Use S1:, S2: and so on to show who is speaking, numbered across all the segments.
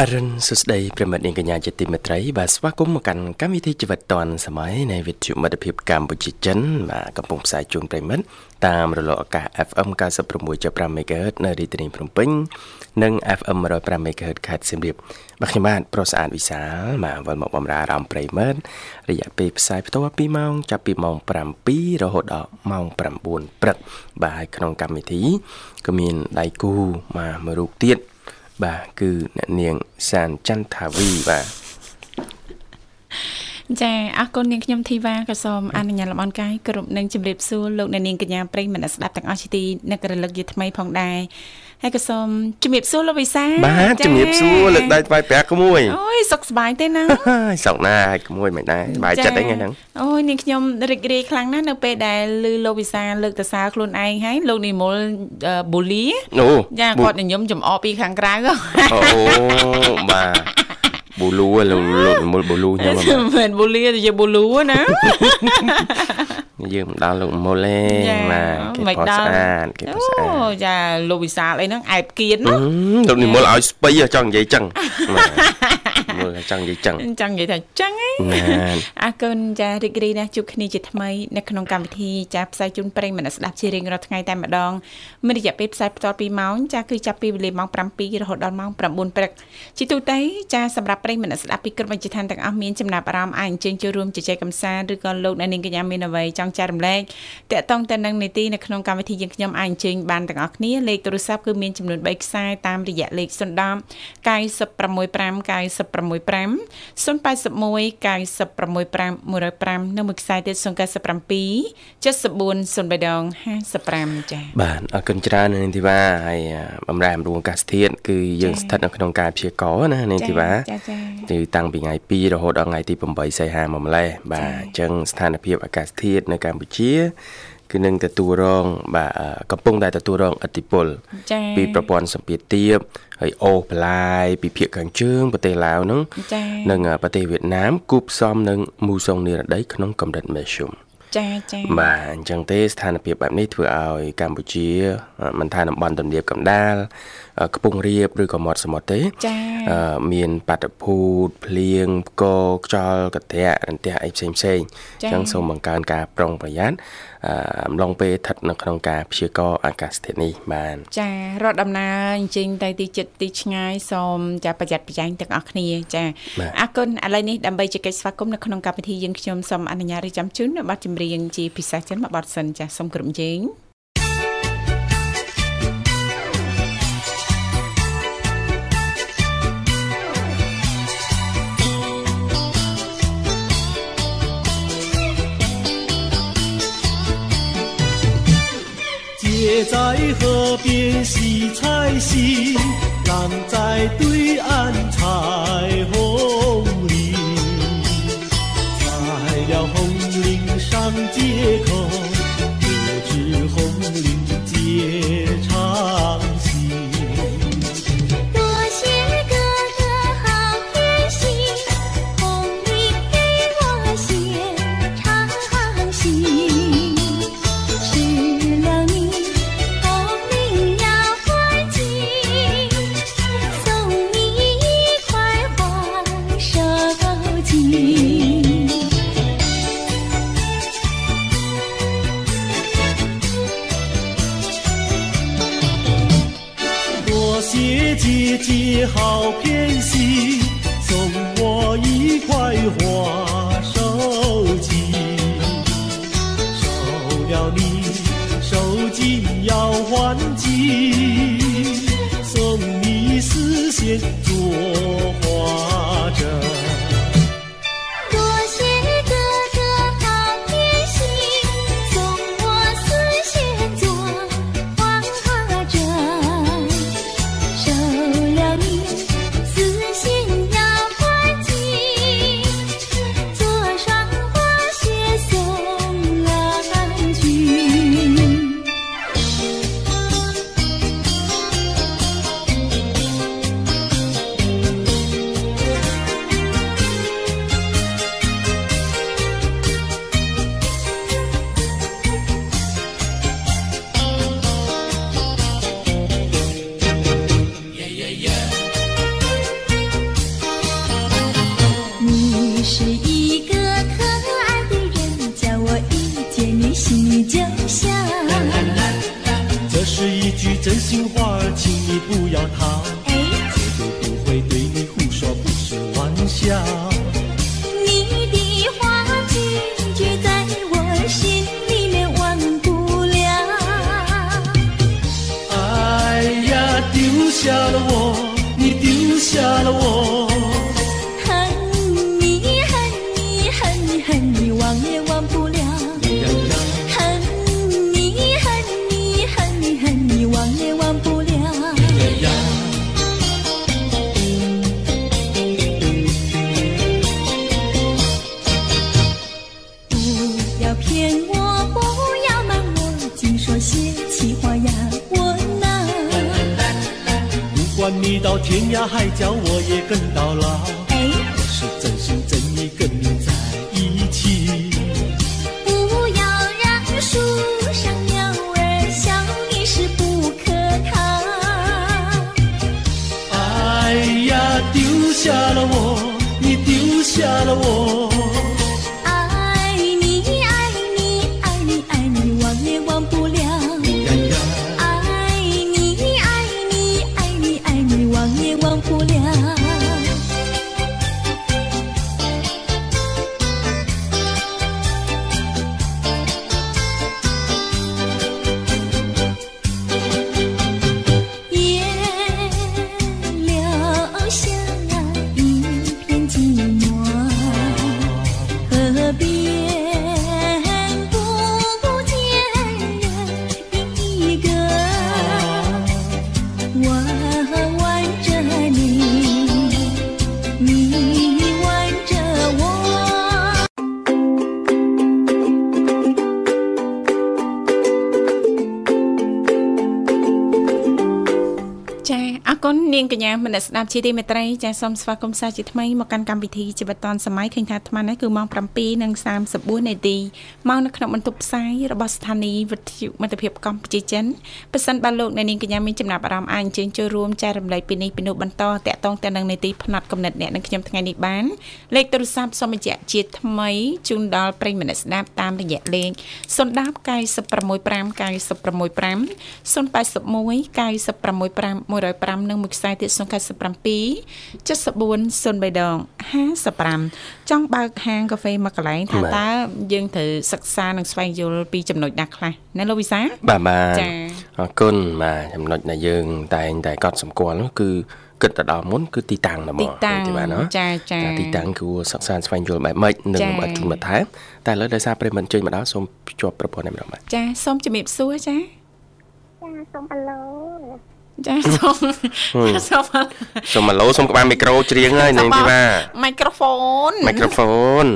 S1: អរុនសួស្តីប្រិមិត្តនាងកញ្ញាជាទីមេត្រីបាទស្វាគមន៍មកកាន់កម្មវិធីជីវិតឌွန်សម័យនៃវិទ្យុមិត្តភាពកម្ពុជាចិនបាទកំពុងផ្សាយជូនប្រិមិត្តតាមរលកអាកាស FM 96.5 MHz នៅរាជធានីភ្នំពេញនិង FM 105 MHz ខេត្តសៀមរាបបាទខ្ញុំបាទប្រុសស្អាតវិសាលបាទវិលមកបំរើអារម្មណ៍ប្រិមិត្តរយៈពេលផ្សាយផ្ទាល់ពីម៉ោងចាប់ពីម៉ោង7រហូតដល់ម៉ោង9ព្រឹកបាទហើយក្នុងកម្មវិធីក៏មានដៃគូបាទមួយរូបទៀត បាទគឺអ្នកនាងសានចន្ទថាវីបាទ
S2: ចាអរគុណនាងខ្ញុំធីវ៉ាក៏សូមអនុញ្ញាតលំអរកាយគ្រប់នឹងជម្រាបសួរលោកអ្នកនាងកញ្ញាប្រិយមិត្តអ្នកស្ដាប់ទាំងអស់ជាទីនឹករលឹកយឺថ្មីផងដែរហើយក៏សូមជម្រាបសួរលោកវិសាល
S1: បាទជំរាបសួរលើកដៃថ្វាយប្រាក់ក្មួយ
S2: អូយសុខសប្បាយទេណា
S1: ហើយសោកណាស់ហើយក្មួយមិនដែរបាយចិត្តអីថ្ងៃហ្នឹង
S2: អូយនាងខ្ញុំរីករាយខ្លាំងណាស់នៅពេលដែលឮលោកវិសាលលើកតសារខ្លួនឯងហើយលោកនិមលអឺបូលី
S1: អូ
S2: ចាគាត់ញញឹមចំអកពីខាងក្រៅ ហ៎
S1: អូបាទប៊ូលូលោកលោកនិមលប៊ូលូខ្ញុំ អ
S2: មិនមែនបូលីទេជាបូលូណា
S1: ត់យើងមិនដល់លោកនិមលទេ
S2: ចា
S1: បាទ
S2: មិន
S1: គេផ
S2: ដល់
S1: ស្អាតគេផស្អាត
S2: អូចាលោកវិសាលអីហ្នឹងអែបគៀនណា
S1: ហឹមលោកនិមលឲ្យស្បៃចង់និយាយចឹងបាទនិមលចង់និយាយចឹង
S2: ចង់និយាយថាចឹងហ៎
S1: ណា
S2: អរគុណចារីករាយណាស់ជួបគ្នាជាថ្មីនៅក្នុងកម្មវិធីចាផ្សាយជូនប្រិយមិត្តអ្នកស្ដាប់ជារៀងរាល់ថ្ងៃតែម្ដងមានរយៈពេលផ្សាយបន្តពីម៉ោងចាគឺចាប់ពីវេលាម៉ោង7រហូតដល់ម៉ោង9ព្រឹកជាទូទៅចាសម្រាប់ប្រិយមិត្តអ្នកស្ដាប់ពីគ្រប់វិជ្ជាឋានទាំងអស់មានចំណាប់អារម្មណ៍អាចអញ្ជើញចូលរួមជជែកកម្សាន្តឬក៏លោកអ្នកនាងកញ្ញាមានអ្វីចង់ចែករំលែកតកតងទៅនឹងនីតិនៅក្នុងកម្មវិធីយើងខ្ញុំអាចអញ្ជើញបានទាំងអស់គ្នាលេខទូរស័ព្ទគឺមានចំនួន3ខ្សែតាមរយៈលេខ010 965 965 081 965 105និងមួយខ្សែទៀត097 74 0355ចា៎
S1: បាទអរគុណច្រើននាងធីវ៉ាហើយអ่าបំរែបំរួលអាកាសធាតុគឺយើងស្ថិតនៅក្នុងការព្យាករណ៍ណានាងធីវ៉ា
S2: ចា៎ចា៎
S1: គឺតាំងពីថ្ងៃ2រហូតដល់ថ្ងៃទី8សីហាមកម្លេះបាទអញ្ចឹងស្ថានភាពអាកាសធាតុនៅកម្ពុជា គឺនឹងទទួលរង បាទអ่าកំពុងតែទទួលរងឥទ្ធិពល
S2: ចា៎
S1: ពីប្រព័ន្ធសម្ពាធទាបហើយអូសបន្លាយពីភាគខាងជើងប្រទេសឡាវហ្នឹង
S2: ចា៎
S1: និងអ่าប្រទេសវៀតណាមគូផ្សំនឹងមូសុងនិរដីក្នុងកម្រិតមធ្យម
S2: ចាចា៎
S1: បាទអញ្ចឹងទេស្ថានភាពបែបនេះធ្វើឲ្យកម្ពុជាអ่ะមិនថាតំបន់ទំនាបកណ្ដាលអ่ะខ្ពង់រាបឬក៏មាត់សមុទ្រទេ
S2: ចា៎
S1: អឺមានបាតុភូតភ្លៀងផ្គរខ្យល់កន្ត្រាក់រន្ទះអីផ្សេងផ្សេង
S2: ចា៎
S1: អញ្ចឹងសូមបង្កើនការប្រុងប្រយ័ត្នអឺអំឡុងពេលស្ថិតនៅក្នុងការព្យាករណ៍អាកាសធាតុនេះបាន
S2: ចារត់ដំណើរអញ្ជើញទៅទីចិត្តទីឆ្ងាយសូមចាប្រយ័ត្នប្រយែងទាំងអស់គ្នាចា
S1: បាទ
S2: អរគុណឥឡូវនេះដើម្បីជែកកិច្ចស្វាគមន៍នៅក្នុងកម្មវិធីយើងខ្ញុំសូមអនុញ្ញាតរៀបចំជូននៅបទចម្រៀងជាពិសេសចិនមួយបទសិនចាសូមក្រុមជេង
S3: 姐在河边洗菜心，郎在对岸采红菱。采了红菱上街口，得知红菱解长情。
S4: 多谢哥哥好贴心，红领给我写长信。失了你，红领要还情，送你一块黄手巾。
S3: 多谢姐姐好偏心，送我一块花手巾。收了你，手巾要还击，送你丝线做花针。
S4: 多谢哥哥好贴心，送我丝线做花针。收了你，丝线要还情，做双花鞋送
S3: 真心话儿，请你不要逃，
S4: 哎，
S3: 我不会对你胡说，不是玩笑。
S4: 你的话句句在我心里面忘不了。
S3: 哎呀，丢下了我，你丢下了我。
S4: 恨你恨你恨你恨你，忘也忘不了。
S3: 呀呀，
S4: 恨你恨你恨你恨你，忘也忘不了。
S3: 呀呀。
S4: 不要骗我，不要瞒我，净说些气话呀，我呐。
S3: 不管你到天涯海角，我也跟到老。
S4: 哎，
S3: 我是真心真意跟你在一起。
S4: 不要让树上鸟儿笑你是不可靠。
S3: 哎呀，丢下了我，你丢下了我。
S4: 爱你爱你爱你爱你，忘也忘不了。
S3: 呀呀，
S4: 爱你爱你爱你爱你，忘也忘不了。夜留下一片寂寞。河边不见人一个，我挽着你，你挽着我。
S2: ចាអរគុណនាងកញ្ញាមនស្សស្ដាប់ជាទីមេត្រីចាសូមស្វាគមន៍សាជាថ្មីមកកាន់កម្មវិធីជីវិតឌွန်សម័យឃើញថាអាត្មានេះគឺម៉ោង7:34នាទីមកនៅក្នុងបន្ទប់ផ្សាយរបស់ស្ថានីយ៍វិទ្យុមិត្តភាពកម្ពុជាចិនប៉ះសិនបាទលោកអ្នកនាងកញ្ញាមានចំណាប់អារម្មណ៍អាចអញ្ជើញចូលរួមចែករំលែកពីនេះពីនោះបន្តតាក់ទងទៅនឹងនីតិផ្នែកកំណត់អ្នកនិងខ្ញុំថ្ងៃនេះបានលេខទូរស័ព្ទសូមបញ្ជាក់ជាថ្មីជូនដល់ប្រិយមិត្តអ្នកស្ដាប់តាមរយៈលេខ010965965 081 965និងមួយខ្សែទៀត097 7403ដង55ចង់បើកហាងកាហ្វេមួយកន្លែងថា
S1: បាទ
S2: តើយើងត្រូវសិក្សានិងស្វែងយល់ពីចំណុចណាខ្លះណាលោកវិសា
S1: បាទបាទ
S2: ចា៎
S1: អរគុណបាទចំណុចដែលយើងតែងតែកត់សម្គាល់នោះគឺគិតទៅដល់មុនគឺទីតាំងហ្មង
S2: ទីតាំង
S1: ទេបាទណា
S2: ចាចា
S1: ទីតាំងគួរសិក្សាស្វែងយល់បែបម៉េចនិងលំអិតជូនបន្ថែមតែឥឡូវដោយសារប្រិយមិត្តជួយមកដល់សូមភ្ជាប់ប្រព័ន្ធនេះម្ដងបាទ
S2: ចាសូមជំរាបសួរចា
S5: ចាសូមអឡូ
S2: ចាសូមសូម
S1: សូមម៉ាឡូសូមក្បាលមីក្រូច្រៀងហើយនាងធីវ៉ា
S2: មីក្រូហ្វូន
S1: មីក្រូហ្វូន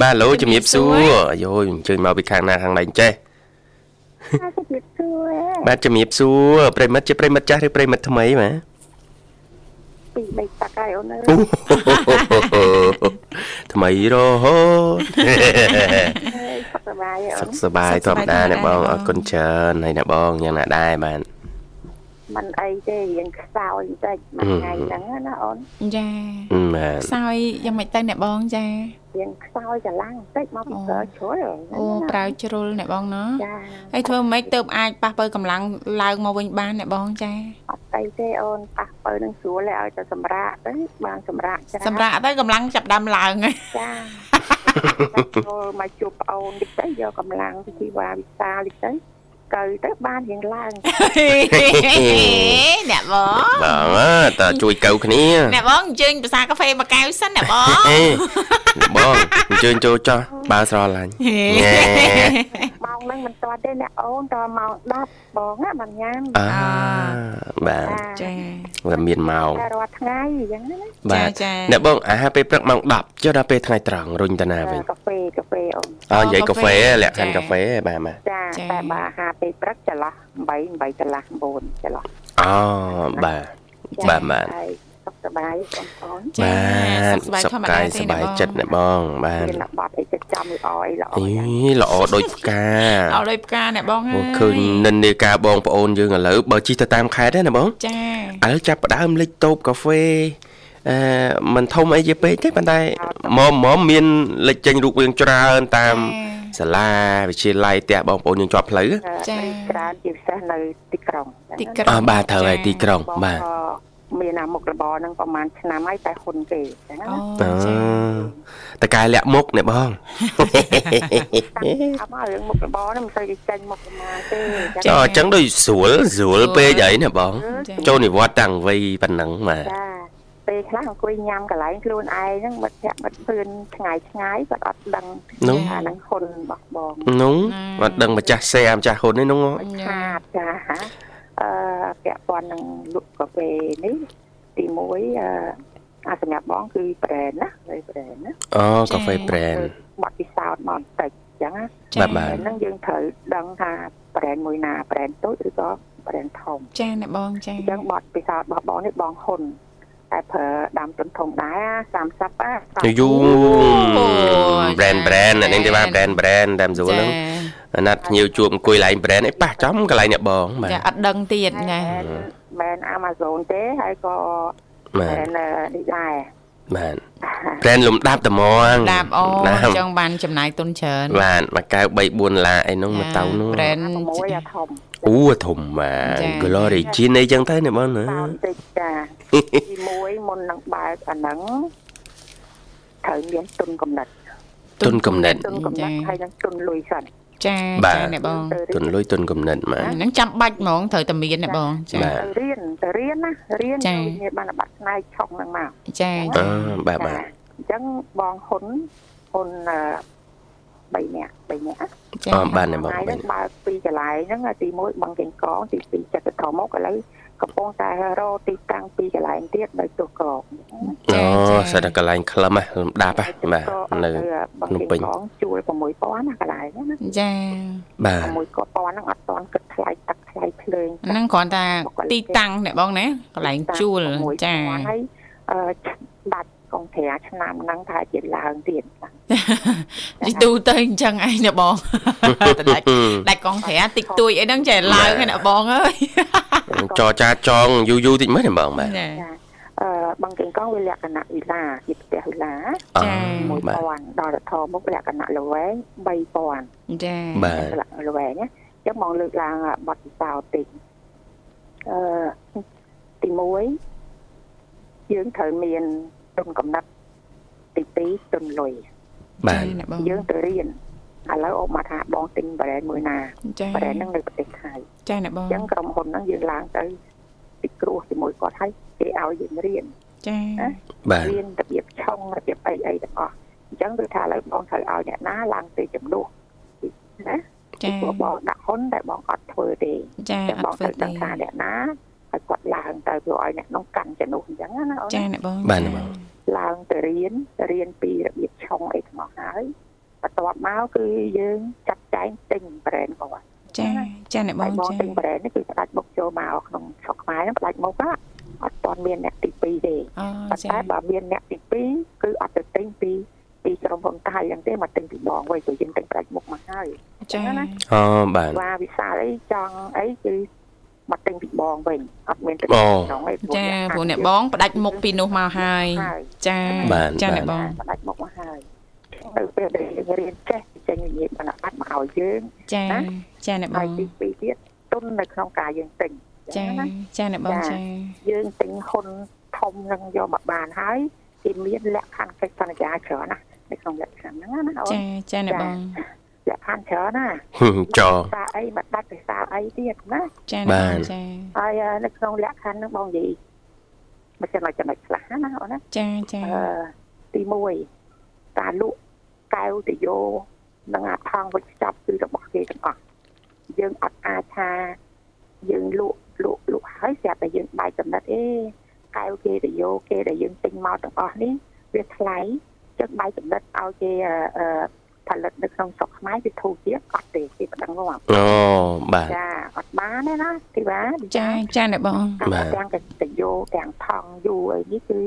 S1: បាទឡូជំរាប
S2: ជំ
S1: សួ
S2: រា
S1: រប
S2: សួរ
S1: អាយូអញ្ជើញមកពីខាងណាខាងណៃចេះ
S5: ហើយជំរាបសួរ
S1: បាទជំរាបសួរប្រិមិត្តជាប្រិមិត្តចាស់ឬប្រិមិត្តថ្មីបាទ
S5: ពីរបីតាក់ហើយអូនអើយ
S1: អូថ្មីរហូត
S5: សុខសប្បាយទេអូ
S1: សុ
S5: ន
S1: ខសប្បាយធម្មតាអ្នកបងអរគុណច្រើនហើយអ្នកបងយ៉ាងណាដែរបាទ
S5: មិនអីទេរៀងខ្សោយបន្តិចមួយថ្ងៃហ្នឹងណាអូន
S2: ចា
S1: ហ៊ឹមបាទ
S2: ខ្សោយយ៉ាងម៉េចទៅអ្នកបងចា
S5: រៀងខ្សោយច្រឡាំងបន្តិចមកពីក្រោយជ្រុលហ្នឹង
S2: អូប្រើជ្រុលអ្នកបងណា
S5: ចា
S2: ហើយធ្វើម៉េចទៅអាចប៉ះបើកម្លាំងឡើងមកវិញបានអ្នកបងចា
S5: អត់អីទេអូនប៉ះពៅនឹងស្រួលហើយឲ្យតែសម្រាកទៅបានសម្រាកច្រើន
S2: សម្រាប់ទៅកម្លាំងចាប់ដើមឡើងហើយ
S5: ចាចូលមកជួបប្អូនតិចទៅយកកម្លាំងវិធីវាវិសាលតិចទៅទៅទៅបានរៀងឡើង
S2: អ្នកបង
S1: បងអើតើជួយកៅគ្នា
S2: អ្នកបងអញ្ជើញភាសាកាហ្វេមកកៅសិនអ្នក បង
S1: អេបងអញ្ជើញចូលចោះបើស្រឡាញ់ញ៉ែ
S5: ម៉ោងហ្នឹងមិនទាន់ទេអ្នកអូនតម៉ោង10បងណាបានញ៉ាំ
S1: អ่าបាទ
S2: ចា
S1: វាមានម៉ោង
S5: តែរាល់ថ្ងៃអញ្ចឹងណា
S1: បាទ
S2: ចាចា
S1: អ្នកបងអាហារពេលព្រឹកម៉ោង10ចុះដល់ពេលថ្ងៃត្រង់រុញតាណាវិញ
S5: កាហ្វេកាហ្វេអូន
S1: អនិយាយកាហ្វេលក្ខខណ្ឌកាហ្វេបាទបាទ
S5: ចា
S2: ចា
S5: តែបើអាហារពេលព្រឹកចន្លោះ8 8កន្លះ9ចន្លោះ
S1: អូបាទបាទបាទ
S5: ហើយសុខសប្បាយបងប្អូន
S2: ចា
S1: បាទ
S2: សុខសប្បាយធម្មតាទេ
S1: សុខស
S2: អ្នកប
S1: បាយ
S2: ង
S1: ចិត្តអ្នកបងបាទ
S5: មានបាត់អីចិត្តចាំល្អអីល្អ
S1: អីល្អដូចផ្កា
S2: ឲ្យលុយផ្កាអ្នកបងហើ
S1: មក
S2: យ
S1: ឃើញនិន្នាការបងប្អូនយើងឥឡូវបើជិះទៅតាមខេត្តណាបង
S2: ចា
S1: ឥឡូវចាប់ផ្ដើមលេចតូបកាហ្វេអឺមិនធំអីជាពេកទេប៉ុន្តែមុំមុំមានលេចចេញរូបរាងច្រើនតាមស សាលាវិទ្យាល័យផ្ទះបងប្អូនយើងជាប់ផ្លូវហ៎
S2: ចា៎
S5: ចាច្រើនជាពិសេសនៅទីក្រុង
S2: ទីក្រុ
S1: អ่าง បាទត្រូវហើយទីក្រុងបាទ
S5: ក៏មានអាមុខរបរហ្នឹងប្រហែលឆ្នាំហើយតែហ៊ុនគេចឹងណា
S2: អូ
S1: អឺ
S2: ចា
S1: តកាយលាក់មុខណែបង
S5: តាមមករឿងមុខរបរហ្នឹងមិនសូវគេចាញ់មុខប្រមាណទេ
S2: ចា៎
S1: ចុះអញ្ចឹងដូចស្រួលស្រួលពេកអីណែបង
S2: ចា៎
S1: ចូលនិវត្តន៍តាំងវ័យប៉ុណ្ណឹងបាទ
S5: ចាពេលខ្លះអង្គុយញ៉ាំកន្លែងខ្លួនឯងហ្នឹងមិត្តភក្តិមិត្តភឿនឆ្ងាយឆ្ងាយគាត់អត់ដឹង
S1: នោះ
S5: ថាហ្នឹងហ៊ុនរបស់បង
S1: នោះ
S2: ណា
S1: អត់ដឹងម្ចាស់សេអាម្ចាស់ហ៊ុននេះនោះហ៎
S5: ខាតចាអឺពាក់ព័ន្ធនឹងលក់កាហ្វេនេះទី1អឺអាសម្រាប់បងគឺ brand ណាហើយ brand ណា
S1: អូកាហ្វេប្រេន
S5: បទពិសោធន៍មកបន្តិចអញ្ចឹងណា
S2: ចា
S1: បាទបាទ
S5: ហើយហ្នឹងយើងត្រូវដឹងថា brand មួយណា brand តូចឬក៏ brand ធំ
S2: ចាណាបងចា
S5: អញ្ចឹងបទពិសោធន៍របស់បងនេះបងហ៊ុនតែប្រើដាំទុនធំដែរ30អា
S1: យូប្រេនប្រេននេះទេបាទប្រេនប្រេនតាមស្រួលហ្នឹងអាណាត់ភ្ញៀវជួបអង្គុយឡើងប្រេនអីប៉ះចំកន្លែងអ្នកបងបាទ
S2: ចាអត់ដឹងទៀតណា
S5: មែន Amazon ទេហើយក៏
S1: បាទ
S5: brand អឺនេះដែរ
S1: បាទប្រេនលំដាប់ត្មង
S2: ដាប់អូ
S1: ដា
S2: អ
S1: ប់
S2: ញ្ចឹងបានចំណាយទុនច្រើន
S1: បាទមួយកែវ3 4ដុល្លារអីនោះមកតៅនោះ
S2: ប្រេន
S5: 6អាធំ
S1: អូធំម៉ា
S2: ចា៎
S1: ន Glory Jean អីចឹងទៅណាបងណា
S5: តាមតិចចាទី1មុននឹងបើកអាហ្នឹងត្រូវមានទុនកំណត់
S1: ទុនកំណត់
S5: ទុនកំណ
S2: ចា
S5: ត់ហើយនឹងទុនលុយសិន
S2: ចា
S1: បាទ
S2: ចាអ្នកបង
S5: ទៅរៀ
S1: ទុ
S5: ន
S1: នលុយទុនកំណត់ម៉ា
S2: អាហ្នឹងចាំបាច់ហ្មងត្រូវតែមានអ្នកបងចា
S1: បាទ
S5: ទៅរៀនទៅរៀនណារៀន
S2: ចា៎
S5: ទៅវិញ្ញាបានបត្រផ្នែកឆុងហ្នឹងមក
S2: ចា
S1: អឺបាទបាទ
S5: អញ្ចឹងបងហ៊ុនហ៊ុនអឺ3នាក់3នាក់
S2: ចា
S1: អមបាទណាបងបា
S5: ថ្ងៃហ្នឹង
S1: ទ
S5: បើកពីកន្លែងហ្នឹងទី1បឹងកេងកងទី2ចិត្តធំមកឥឡូវកំពុងតែរកទីតាំងពីកន្លែងទៀតនៅទោះក្រោក
S1: អូសិតតែកន្លែងខ្លឹមហ្នឹងលំដាប់ហ្នឹងបាទនៅ
S5: បឹង
S1: ភ្នំ
S5: កេង
S1: ពេញ
S5: កងជួល6000ណាកន្លែងហ្នឹងណា
S2: ចា
S1: បាទ
S5: 6000ហ្នឹងអត់ទាន់គិតថ្លៃទឹកថ្លៃភ្លើង
S2: អាហ្នឹងគ្រាន់តែទីតាំងអ្នកបងណាកន្លែងជួលចា
S5: ហើយអឺបាច់កងត្រាឆ្នាំហ្នឹងថាជាឡើងទៀតបាទ
S2: និយាយទូទៅអញ្ចឹងឯងអ្នកបង តែដាច់ដាច់កងត្រាតិចតួចអីហ្នឹងចេះឡើងឯអ្នកបងអើយ
S1: ចរចាចងយូរយូរតិចមើលណាបងបាទ
S2: ចា
S5: អឺបឹងកេងកងវាលក្ខណៈវិឡាជាផ្ទះវិឡា
S1: អូបាទ
S5: 1000ដល់រដ្ឋធមមកលក្ខណៈលវែង3000
S2: ចា
S1: បាទ
S5: លក្ខណៈលវែងណាចឹងមកលើកឡើងបទពិសោធន៍តិចអឺទី1យើងត្រូវមានទុនកំណត់ទី2ទុនលុយ
S1: បាទ
S2: ចាអ្នកបង
S5: យើងទៅរៀនឥឡូវអបមកថាបងទិញ brand មួយណា
S2: ចា
S5: ប្រហែលហ្នឹងនៅប្រទេសថៃ
S2: ចាអ្នកបង
S5: អញ្ចឹងក្រុមហ៊ុនហ្នឹងយើងឡើងទៅពិគ្រោះជាមួយគាត់ហើយគេឲ្យយើងរៀន
S2: ចា
S1: បាទ
S5: រៀនរបៀបឆុងរបៀបអីអីទាំងអស់អញ្ចឹងគឺថាឥឡូវបងត្រូវឲ្យអ្នកណាឡើងទៅចំនួនណាពី
S2: ចា
S5: ព្រោះបងដាក់ហ៊ុនតែបងអត់ធ្វើទេ
S2: ចា
S5: តែ
S2: អ
S5: បង
S2: ត់ធ្វើទេ
S5: ត្រូវដឹងថាអ្នកណាហើយគាត់ឡើងទៅព្រោះឲ្យអ្នកនោះកាន់ចំនួនអញ្ចឹងណាណាអូន
S2: ចា
S5: ណា
S2: អ្នកបង
S1: បាទណាបង
S5: ឡើងទៅរៀនរៀនពីរបៀបឆុងអីទាំងអស់ហើយបន្ទាប់មកគឺយើងចាត់ចែងទិញ brand គាត់
S2: ចាចាអ្នកប
S5: បង
S2: ង
S5: បង
S2: ចា
S5: ទិញប្រេននេះគឺផ្ដាច់មុខចូលមកក្នុងស្រុកខ្មែរហ្នឹងផ្ដាច់មុខណាអត់ទាន់មានអ្នកទី2ទេ
S2: អូ
S5: ប៉ុ
S2: ចា
S5: ន្តែបើមានអ្នកទី2គឺអត់ទៅទិញពីពីក្រុមហ៊ុនថៃហ្នឹងទេមកទិញពីបងវិញព្រោះយើងទិញផ្ដាច់មុខមកហើយ
S2: ចា
S1: អូបាទ
S5: ថាវិសាលអីចង់អីគឺមកទិញពីបងវិញអត់មានទៅ
S1: អូ
S5: ក្នុងឯង
S2: ចាព្រោះអ្នកបងផ្ដាច់មុខពីនោះមកហើយ
S5: ហើយ
S2: ចាចាអ្នកបង
S5: ផ្ដាច់មុខមកហើយនៅពេលដែលយើងរៀនចេះចេញវិញ្ញាបនបត្រមកឲ្យយើង
S2: ចាចាអ្នកប
S5: ហើយ
S2: ង
S5: ទី2ទៀតទុននៅក្នុងការយើងទិញ
S2: ចា
S5: អញ្ណា
S2: ចាអ្នកបងចា
S5: យើងទិញហ៊ុនធំនឹងយកមកបានហើយគេមានលក្ខខណ្ឌកិច្ចសន្យាច្រើនណាស់នៅក្នុងលក្ខខណ្ឌហ្នឹងណាអូន
S2: ចាចាអ្នកបង
S5: លក្ខខណ្ឌច្រើនណាស់
S1: ហឹមចោ
S5: ភាសាអីមិនដាច់ភាសាអីទៀតណា
S2: ចាអ្នកបងចា
S5: ហើយអឺនៅក្នុងលក្ខខណ្ឌហ្នឹងបងនិយាយមិនចំណុចចំណុចខ្លះណាអូនណា
S2: ចាចា
S5: អឺទី1តាលក់កែវតយោនិងអាថងវិចចាប់គឺរបស់គេទាំងអស់យើងអត់អាចថាយើងលក់លក់លក់ហើយស្រាប់តែយើងបែកចំណិតអេកែវគេតយោគេដែលយើងទិញមកទាំងអស់នេះវាថ្លៃចឹងបែកចំណិតឲ្យគេអឺអឺផលិតនៅក្នុងស្រុកខ្មែរវាធូរទៀតអត់ទេគេបដិងងាប់
S1: អូបាទ
S5: ចាអត់បានទេណាទីបាទី
S2: ចា
S5: បា
S2: ចាអ្នកបង
S5: ទាំងទាំងកិត្តិយសទាំងថងយូរអីនេះគឺ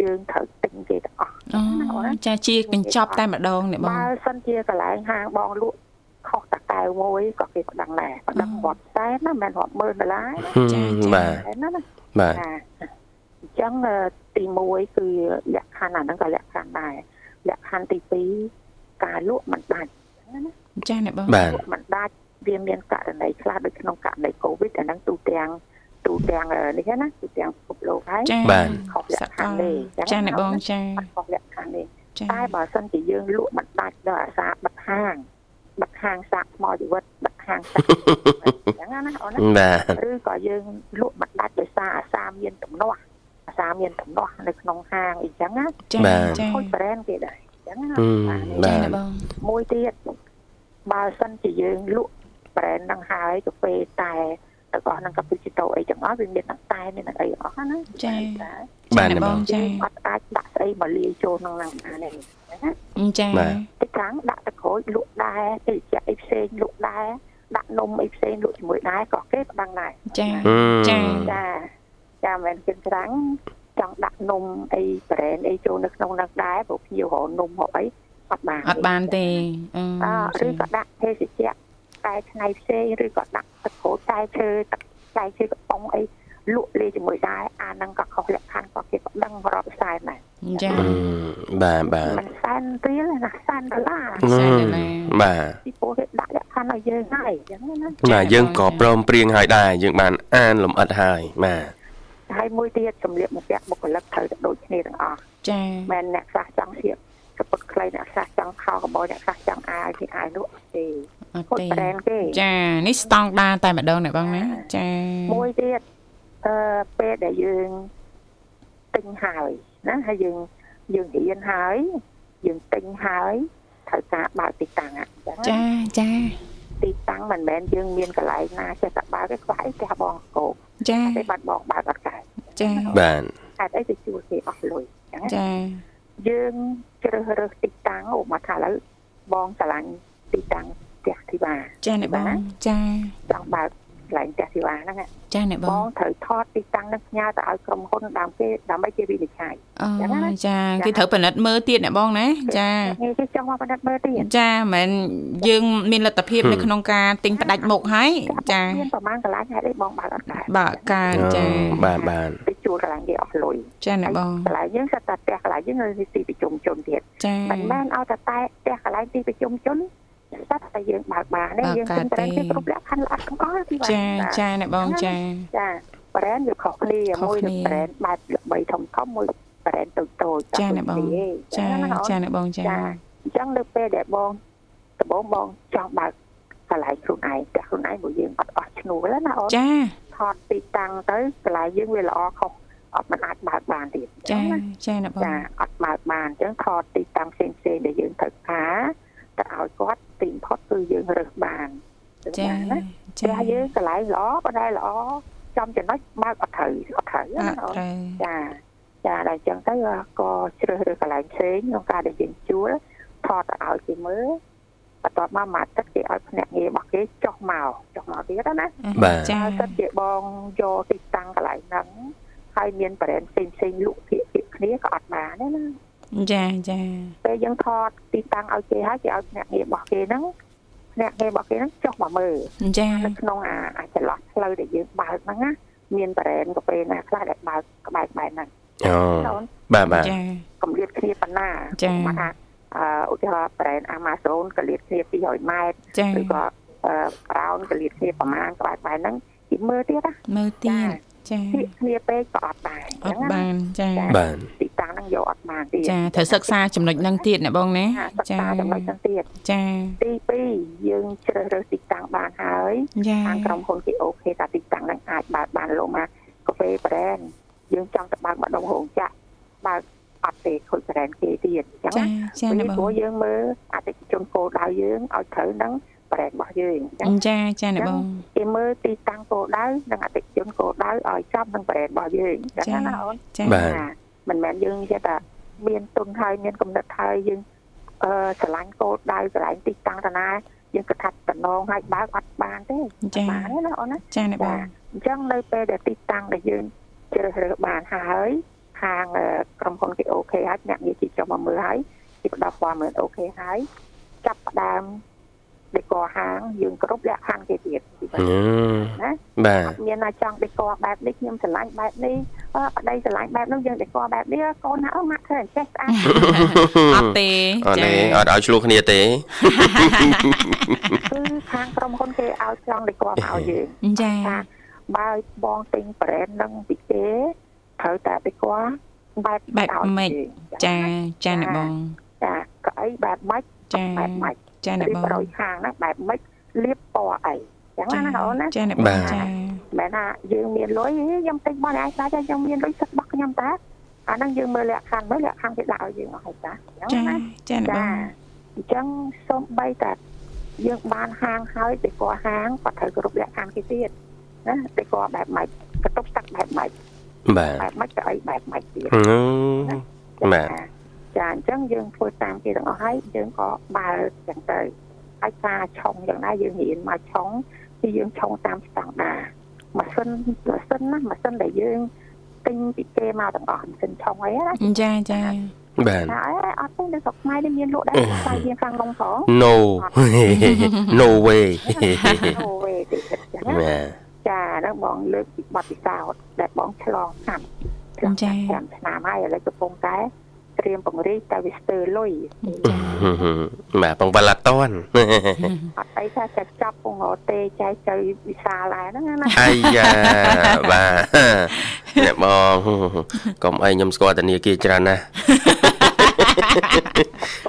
S5: យើងត្រូវទិញគេទាំងអស់
S2: អូចាជាកញ្ចប់តែម្ដងអ្នកបង
S5: បើសិនជាកន្លែងហាងបងលក់ខុសតកែវមួយក៏គេប្តឹងដែរប្តឹង
S2: អឺ
S5: រាប់សែនណាមិនមែនរាប់ម៉ឺនដុល្លារ
S1: ហឹមបាទ
S5: ទេណាណា
S1: បាទ
S5: ចាអញ្ចឹងអឺទី1គឺលក្ខខណ្ឌអាហ្នឹងក៏លក្ខខណ្ឌដែរលក្ខខណ្ឌទី2ការលក់មិនដាច់ ណាណា
S2: ចាអ្នកបង
S1: បាទ
S5: ពួកមិនដាច់វាមានករណីខ្លះដូចក្នុងករណីកូវីដអាហ្នឹងទូទាំងទូទាំងអឺនេះហ្នឹងណាទូទាំងពិភពលោកហើយ
S2: ចា
S1: បាទ
S5: ខុសលក្ខខណ្ឌទេ
S2: ចាអ្នកបងចា
S5: អត់ខុសលក្ខខណ្ឌទេ
S2: ចា
S5: តែបើសិនជាយើងលក់មិនដាច់ដល់អាសាបិទហាងបិទហាងសាកថ្មជីវិតបិទហាងសាក អញ្ចឹងណាអូនណា
S1: បាទ
S5: ឬក៏យើងលក់មិនដាច់ដោយសារអាសាមានដំណោះអាសាមានដំណោះនៅក្នុងហាងអីចឹងណា
S2: ចាចា
S5: ខូច brand គេដែរអញ្ចឹងណា
S1: អឺ
S5: បា
S2: ចា
S5: ទ
S1: បាទ
S2: អ្នកបង
S5: មួយទៀតបើសិនជាយើងលក់ brand ហ្នឹងហើយកាហ្វេតែទាំងអស់ហ្នឹងកាហ្វេជីតូអីទាំងអស់វាមានទាំងតែមានទាំងអីទាំងអស់ណា
S2: ចា
S5: តែ
S1: បាទអ្នកបង
S5: យើ
S2: ចា
S5: ងអត់អាចដាក់ស្អីមកលាយចូលក្នុងហ្នឹងបានទេណា
S2: ចា
S1: បាទ
S5: ទីខាងដាក់ទឹកក្រូចលក់ដែរទីជាអីផ្សេងលក់ដែរដាក់នំអីផ្សេងលក់ជាមួយដែរក៏គេប្តឹងដែរ
S2: ចា ចា
S5: ចាចាមិនមែនគិតច្រាំងចង់ដាក់នំអីប្រេនអីចូលនៅក្នុងនោះដែរព្រោះភៀវរកនំមកអីអត់បាន
S2: អត់បានទេអឺ
S5: អឺឬក៏ដាក់ភេសជ្ជៈតែឆ្នៃផ្សេងឬក៏ដាក់ទឹកក្រូចតែឈើទឹកតែឈើកំប៉ុងអីលក់លេជាមួយដែរអាហ្នឹងក៏ខុសលក្ខខណ្ឌក៏គេប្តឹងរាប់ផ្សែនដែរ
S2: ចា
S1: អឺបាទបាទ
S5: មិនសែនរៀលណាសែនដុល្លារ
S1: อืม
S2: សែនដុល្លារ
S1: បាទ
S5: ពីព្រោះគេដាក់លក្ខខណ្ឌឲ្យយើងហើយអញ្ចឹង
S2: ចា៎
S5: ណា
S1: បាទយើង
S2: បង
S1: ក៏
S2: ចា៎
S1: ព្រមព្រៀងហើយដែរយើងបានអានលំអិតហើយបាទ
S5: ហើយមួយទៀតសម្លៀកបំពាក់បុគ្គលិកត្រូវតែដូចគ្នាទាំងអស់
S2: ចា
S5: មិនមែនអ្នកខ្លះចង់ស្លៀកកាពឹកខ្លីអ្នកខ្លះចង់ខោកបោអ្នកខ្លះចង់អាវគេអាវនោះទេ
S2: អត់
S5: ខុស
S2: ទេ
S5: brand គេ
S2: ចានេះស្តង់ដារតែម្ដងអ្នកបងណាចា
S5: មួយទៀតអឺពេលដែលយើងទិញហើយណាហើយយើងយើងរៀនហើយយើងទិញហើយត្រូវការបើកទីតាំងអញ្ចឹងណា
S2: ចាចា
S5: ទីតាំងមិនមែនយើងមានកន្លែងណាចេះតែបើកគេខ្វះអីផ្ទះបងកោក
S2: ចា
S5: តែបាត់បងបើកអត់កើត
S2: ចា
S1: បាទ
S5: ហេតុអីទៅជួលគេអស់លុយអញ្ចឹងណា
S2: ចា
S5: យើងជ្រើសរើសទីតាំងអូមកថាឥឡូវបងឆ្លាញ់ទីតាំងផ្ទះធីវ៉ា
S2: ចាអ្នកបងចា
S5: ចង់បើកឆ្លាញ់ផ្ទះធីវ៉ាហ្នឹងណា
S2: ចាអ្នកប
S5: បង ងត្រូវថតទីតាំងហ្នឹងផ្ញើទៅឲ្យក្រុមហ៊ុនដើមគេដើម្បីគេវិនិច្ឆ័យ
S2: អ
S5: ចឹង
S2: ឺ
S5: ណា
S2: ចាគេត្រូវពិនិត្យមើលទៀតអ្នកបងណាចា
S5: នេះគេចង់មកបណ្ឌិតមើលទៀត
S2: ចាមិនយើងមានលទ្ធភាពនៅក្នុងការទិញផ្ដាច់មុខហើយចា
S5: មានប្រហែលកន្លែងហេតុអីបងបើកអត់កើត
S2: បើកកើតចា
S1: អូបាទបាទ
S5: ទៅជួលកន្លែងគេអស់លុយ
S2: ចាអ្នកបង
S5: កន្លែងយើងសិតតែផ្ទះកន្លែងយើងនៅទីប្រជុំជនទៀត
S2: ចា
S5: មិនមែនឲ្យតែតែផ្ទះកន្លែងទីប្រជុំជនសិតតែយើងបើកបានទេយើងគិតត្រឹមគេគ្រប់លក្ខខណ្ឌល្អទាំងអស់ទីវ៉ា
S2: ចាចាអ្នកបងចា
S5: ចា brand វាខុសគ្នា
S2: ខុស
S5: មួយ
S2: គ្នា
S5: នឹង brand បែបល្បីធំធំមួយ brand តូចតូច
S2: ចាអ្នកបងចាចាអ្នកបងចា
S5: ចាអញ្ចឹងនៅពេលដែលបងដំបងបងចង់បើកកន្លែងខ្លួនឯងតែខ្លួនឯងរបស់យើងអត់អស់ឈ្នួលណាណាអូន
S2: ចា
S5: ថតទីតាំងទៅកន្លែងយើងវាល្អខុសអត់មិនអាចបើកបានទៀត
S2: ចា
S5: អញ្ចឹងណា
S2: ចាអ្នកបង
S5: ចាអត់បើកបានអញ្ចឹងថតទីតាំងផ្សេងផ្សេងៗដែលយើងត្រូវការទៅឲ្យគាត់ទីបំផុតគឺយើងរើសបានអ
S2: ចា
S5: ញ្ងណា
S2: ចា
S5: ព្រះយើងកន្លែងល្អបណ្ដែល្អចំចំណុចបើកអត់ត្រូវអត់ត្រូវ
S2: អ
S5: ណា
S2: ត់
S5: អូន
S2: ត្រូវ
S5: ចាចាដល់អញ្ចឹងទៅក៏ជ្រើសរើសកន្លែងផ្សេងក្នុងការដែលយើងជួលថតទៅឲ្យគេមើលបន្ទាប់មកមួយអាទិត្យគេឲ្យភ្នាក់ងាររបស់គេចុះមកចុះមកទៀតណា
S1: បាទ
S2: ចា
S5: ហើយសិនជាបងយកទីតាំងកន្លែងហ្នឹងហើយមានប្រេនផ្សេងផ្សេងៗលក់ភាគភាគគ្នាក៏អត់បានដែរណា
S2: ចាចា
S5: ពេលយើងថតទីតាំងឲ្យគេហើយគេឲ្យភ្នាក់ងាររបស់គេហ្នឹងភ្នាក់ងាររបស់គេហ្នឹងចុះមកមើល
S2: ចា
S5: នៅក្នុងអាអាចន្លោះផ្លូវដែលយើងបើកហ្នឹងណាមានប្រេនកាហ្វេណាខ្លះដែលបើកក្បែរក្បែរហ្នឹង
S1: អូ
S5: អូន
S1: បាទបាទ
S2: ចា
S5: កម្រិតគ្នាប៉ុណ្ណា
S2: ចា៎
S5: មកថាអឺឧទាហរណ៍ប្រេន Amazon កម្រិតគ្នា200ម៉ែត្រ
S2: ចា
S5: ឬក៏អឺ Crown កម្រិតគ្នាប្រមាណក្បែរក្បែរហ្នឹងទីមើលទៀតណា
S2: មើលទៀតចា
S5: ទីគ្នាពេកក៏អត់ដែរ
S2: អ
S5: អ
S2: ត់
S5: ញ្ចឹងណា
S2: បានចា
S1: បាទ
S5: ទីតាំងហ្នឹងយកអត់បានទៀត
S2: ចាត្រូវសិក្សាចំណុចហ្នឹងទៀតអ្នកបងណា
S5: ចា
S2: ចា
S5: សិក្សាចំណុចហ្នឹងទៀត
S2: ចា
S5: ទី2យើងជ្រើសរើសទីតាំងបានហើយ
S2: ចា
S5: ខាងក្រុមហ៊ុនគេអូខេតាទីតាំងហ្នឹងអាចបើកបានលោកមកកាហ្វេ brand យើងចង់ទៅបើកម្ដងរោងចក្របើកអត់ទេខូច brand គេទៀតអញ្ចឹ
S2: ចា
S5: ង
S2: ចា
S5: ពី
S2: អ្នកប
S5: ព្រោះ
S2: ង
S5: យើងមើលអតិថិជនគោលដៅយើងឲ្យត្រូវនឹង brand របស់យើងអញ្ចឹង
S2: ចាចាអ្នកបង
S5: គេមើលទីតាំងគោលដៅនិងអតិថិជនគោលដៅឲ្យចំនឹង brand របស់យើងអញ្ចឹ
S2: ចា
S5: ងណាអូន
S2: ចា
S1: បាទ
S5: ចាមិនមែនយើងចេះតែមានទុនហើយមានកំណត់ហើយយើងអឺឆ្លាញ់គោលដៅឆ្លាញ់ទីតាំងតាណាយើងគិតថាតំណងឲ្យបើកអត់បានទេ
S2: ចា
S5: បានទេណាអូនណា
S2: ចាអ្នកបង
S5: អញ្ចឹងនៅពេលដែលទីតាំងដែលយើងជ្រើសរើសបានហើយខាងអឺក្រុមហ៊ុនគេអូខេហើយអ្នកនិយាយទីចូលមកមើលហើយគេផ្ដល់ព័ត៌មានអូខេហើយចាប់ផ្ដើម ដេករហាងយើងគ្រប់លក្ខខណ្ឌគេទៀតពីបា
S1: អឺ
S5: ទណា
S1: បាទ
S5: មានណាចង់ដេករបែបនេះខ្ញុំស្រឡាញ់បែបនេះអឺប្តីស្រឡាញ់បែបនោះយើងដេករបែបនេះកូនណាអូម៉ាក់ធ្វើអញ្ចេះស្អាត
S2: អត់ទេ
S1: អត់ទេអត់ឲ្យឆ្លោះគ្នាទេ
S5: គឺខាងក្រុមហ៊ុនគេឲ្យចង់ដេករមកឲ្យយើង
S2: ចា
S5: ថាបើបងទិញ brand នឹងពីគេត្រូវតែដេករបែប
S2: បែប
S5: ដោយ
S2: ម៉េច
S5: យើង
S2: ចាចាអ្នកបង
S5: ចាក៏អីបែបម៉េច
S2: ចា
S5: បែបម៉េច
S2: ចាអ្នក
S5: រៀ
S2: ប
S5: ប
S2: ង
S5: រយខាងហ្នឹងបែបម៉េចលាបពណ៌អីចឹងណាណាអូនណា
S2: ចាអ្នកបង
S1: បាទ
S2: ចា
S5: មិនថាយើងមានលុយហីខ្ញុំទិញបនឯងស្ដាច់ហើយខ្ញុំមានលុយសិតរបស់ខ្ញុំតាអាហ្នឹងយើងមើលលក្ខខណ្ឌមើលលក្ខខណ្ឌគេដាក់ឲ្យយើងអស់ហើយតាចឹ
S2: ចា
S5: ងណា
S2: ចាអ្នកបង
S5: អញ្ចឹងសូមបីតាយើងបានហាងហើយតែគាត់ហាងគាត់ត្រូវគ្រប់លក្ខខណ្ឌគេទៀតណាតែគាត់បែបម៉េចកតុបស្ទឹកបែបម៉េច
S1: បាទ
S5: បែបម៉េចទៅអីបែបម៉េចទៀត
S1: អឺ បាទ
S5: ចាអញ្ចឹងយើងធ្វើតាមគេទាំងអស់ហើយយើងក៏បើកចឹងទៅហើយការឆុងយ៉ាងណាយើងរៀនមកឆុងគឺយើងឆុងតាមស្តង់ដារម៉ាស៊ីនម៉ាស៊ីនណាម៉ាស៊ីនដែលយើងទិញពីគេមកទាំងអស់ម៉ាស៊ីនឆុងអីណា
S2: ចាចា
S1: បាទ
S5: ថាអីអត់ទេនៅស្រុកខ្មែរនេះមានលក់ដែរ
S1: អឺ
S5: ស្វាយយើងខាងក្នុងផង
S1: no no way
S5: អូវេទេចឹងណា
S1: ណា
S5: ចាហ្នឹងបងលើកពីបទពិសោធន៍ដែលបងឆ្លងកាត់ឆ្លងកាត់តាមឆ្នាំហើយឥឡូវកំពុងតែត្រៀមពង្រីកតែវាស្ទើរលុយ
S1: បាទបងវ៉ាឡាត ន
S5: អត់អីថាចាចាប់ពងរទេចែកទៅវិសាលដែរ ហ្នឹងណា
S1: អាយ៉ាបាទ អ្នកបង កុំអីខ្ញុំស្គាល់ធនាគារច្រើនណាស់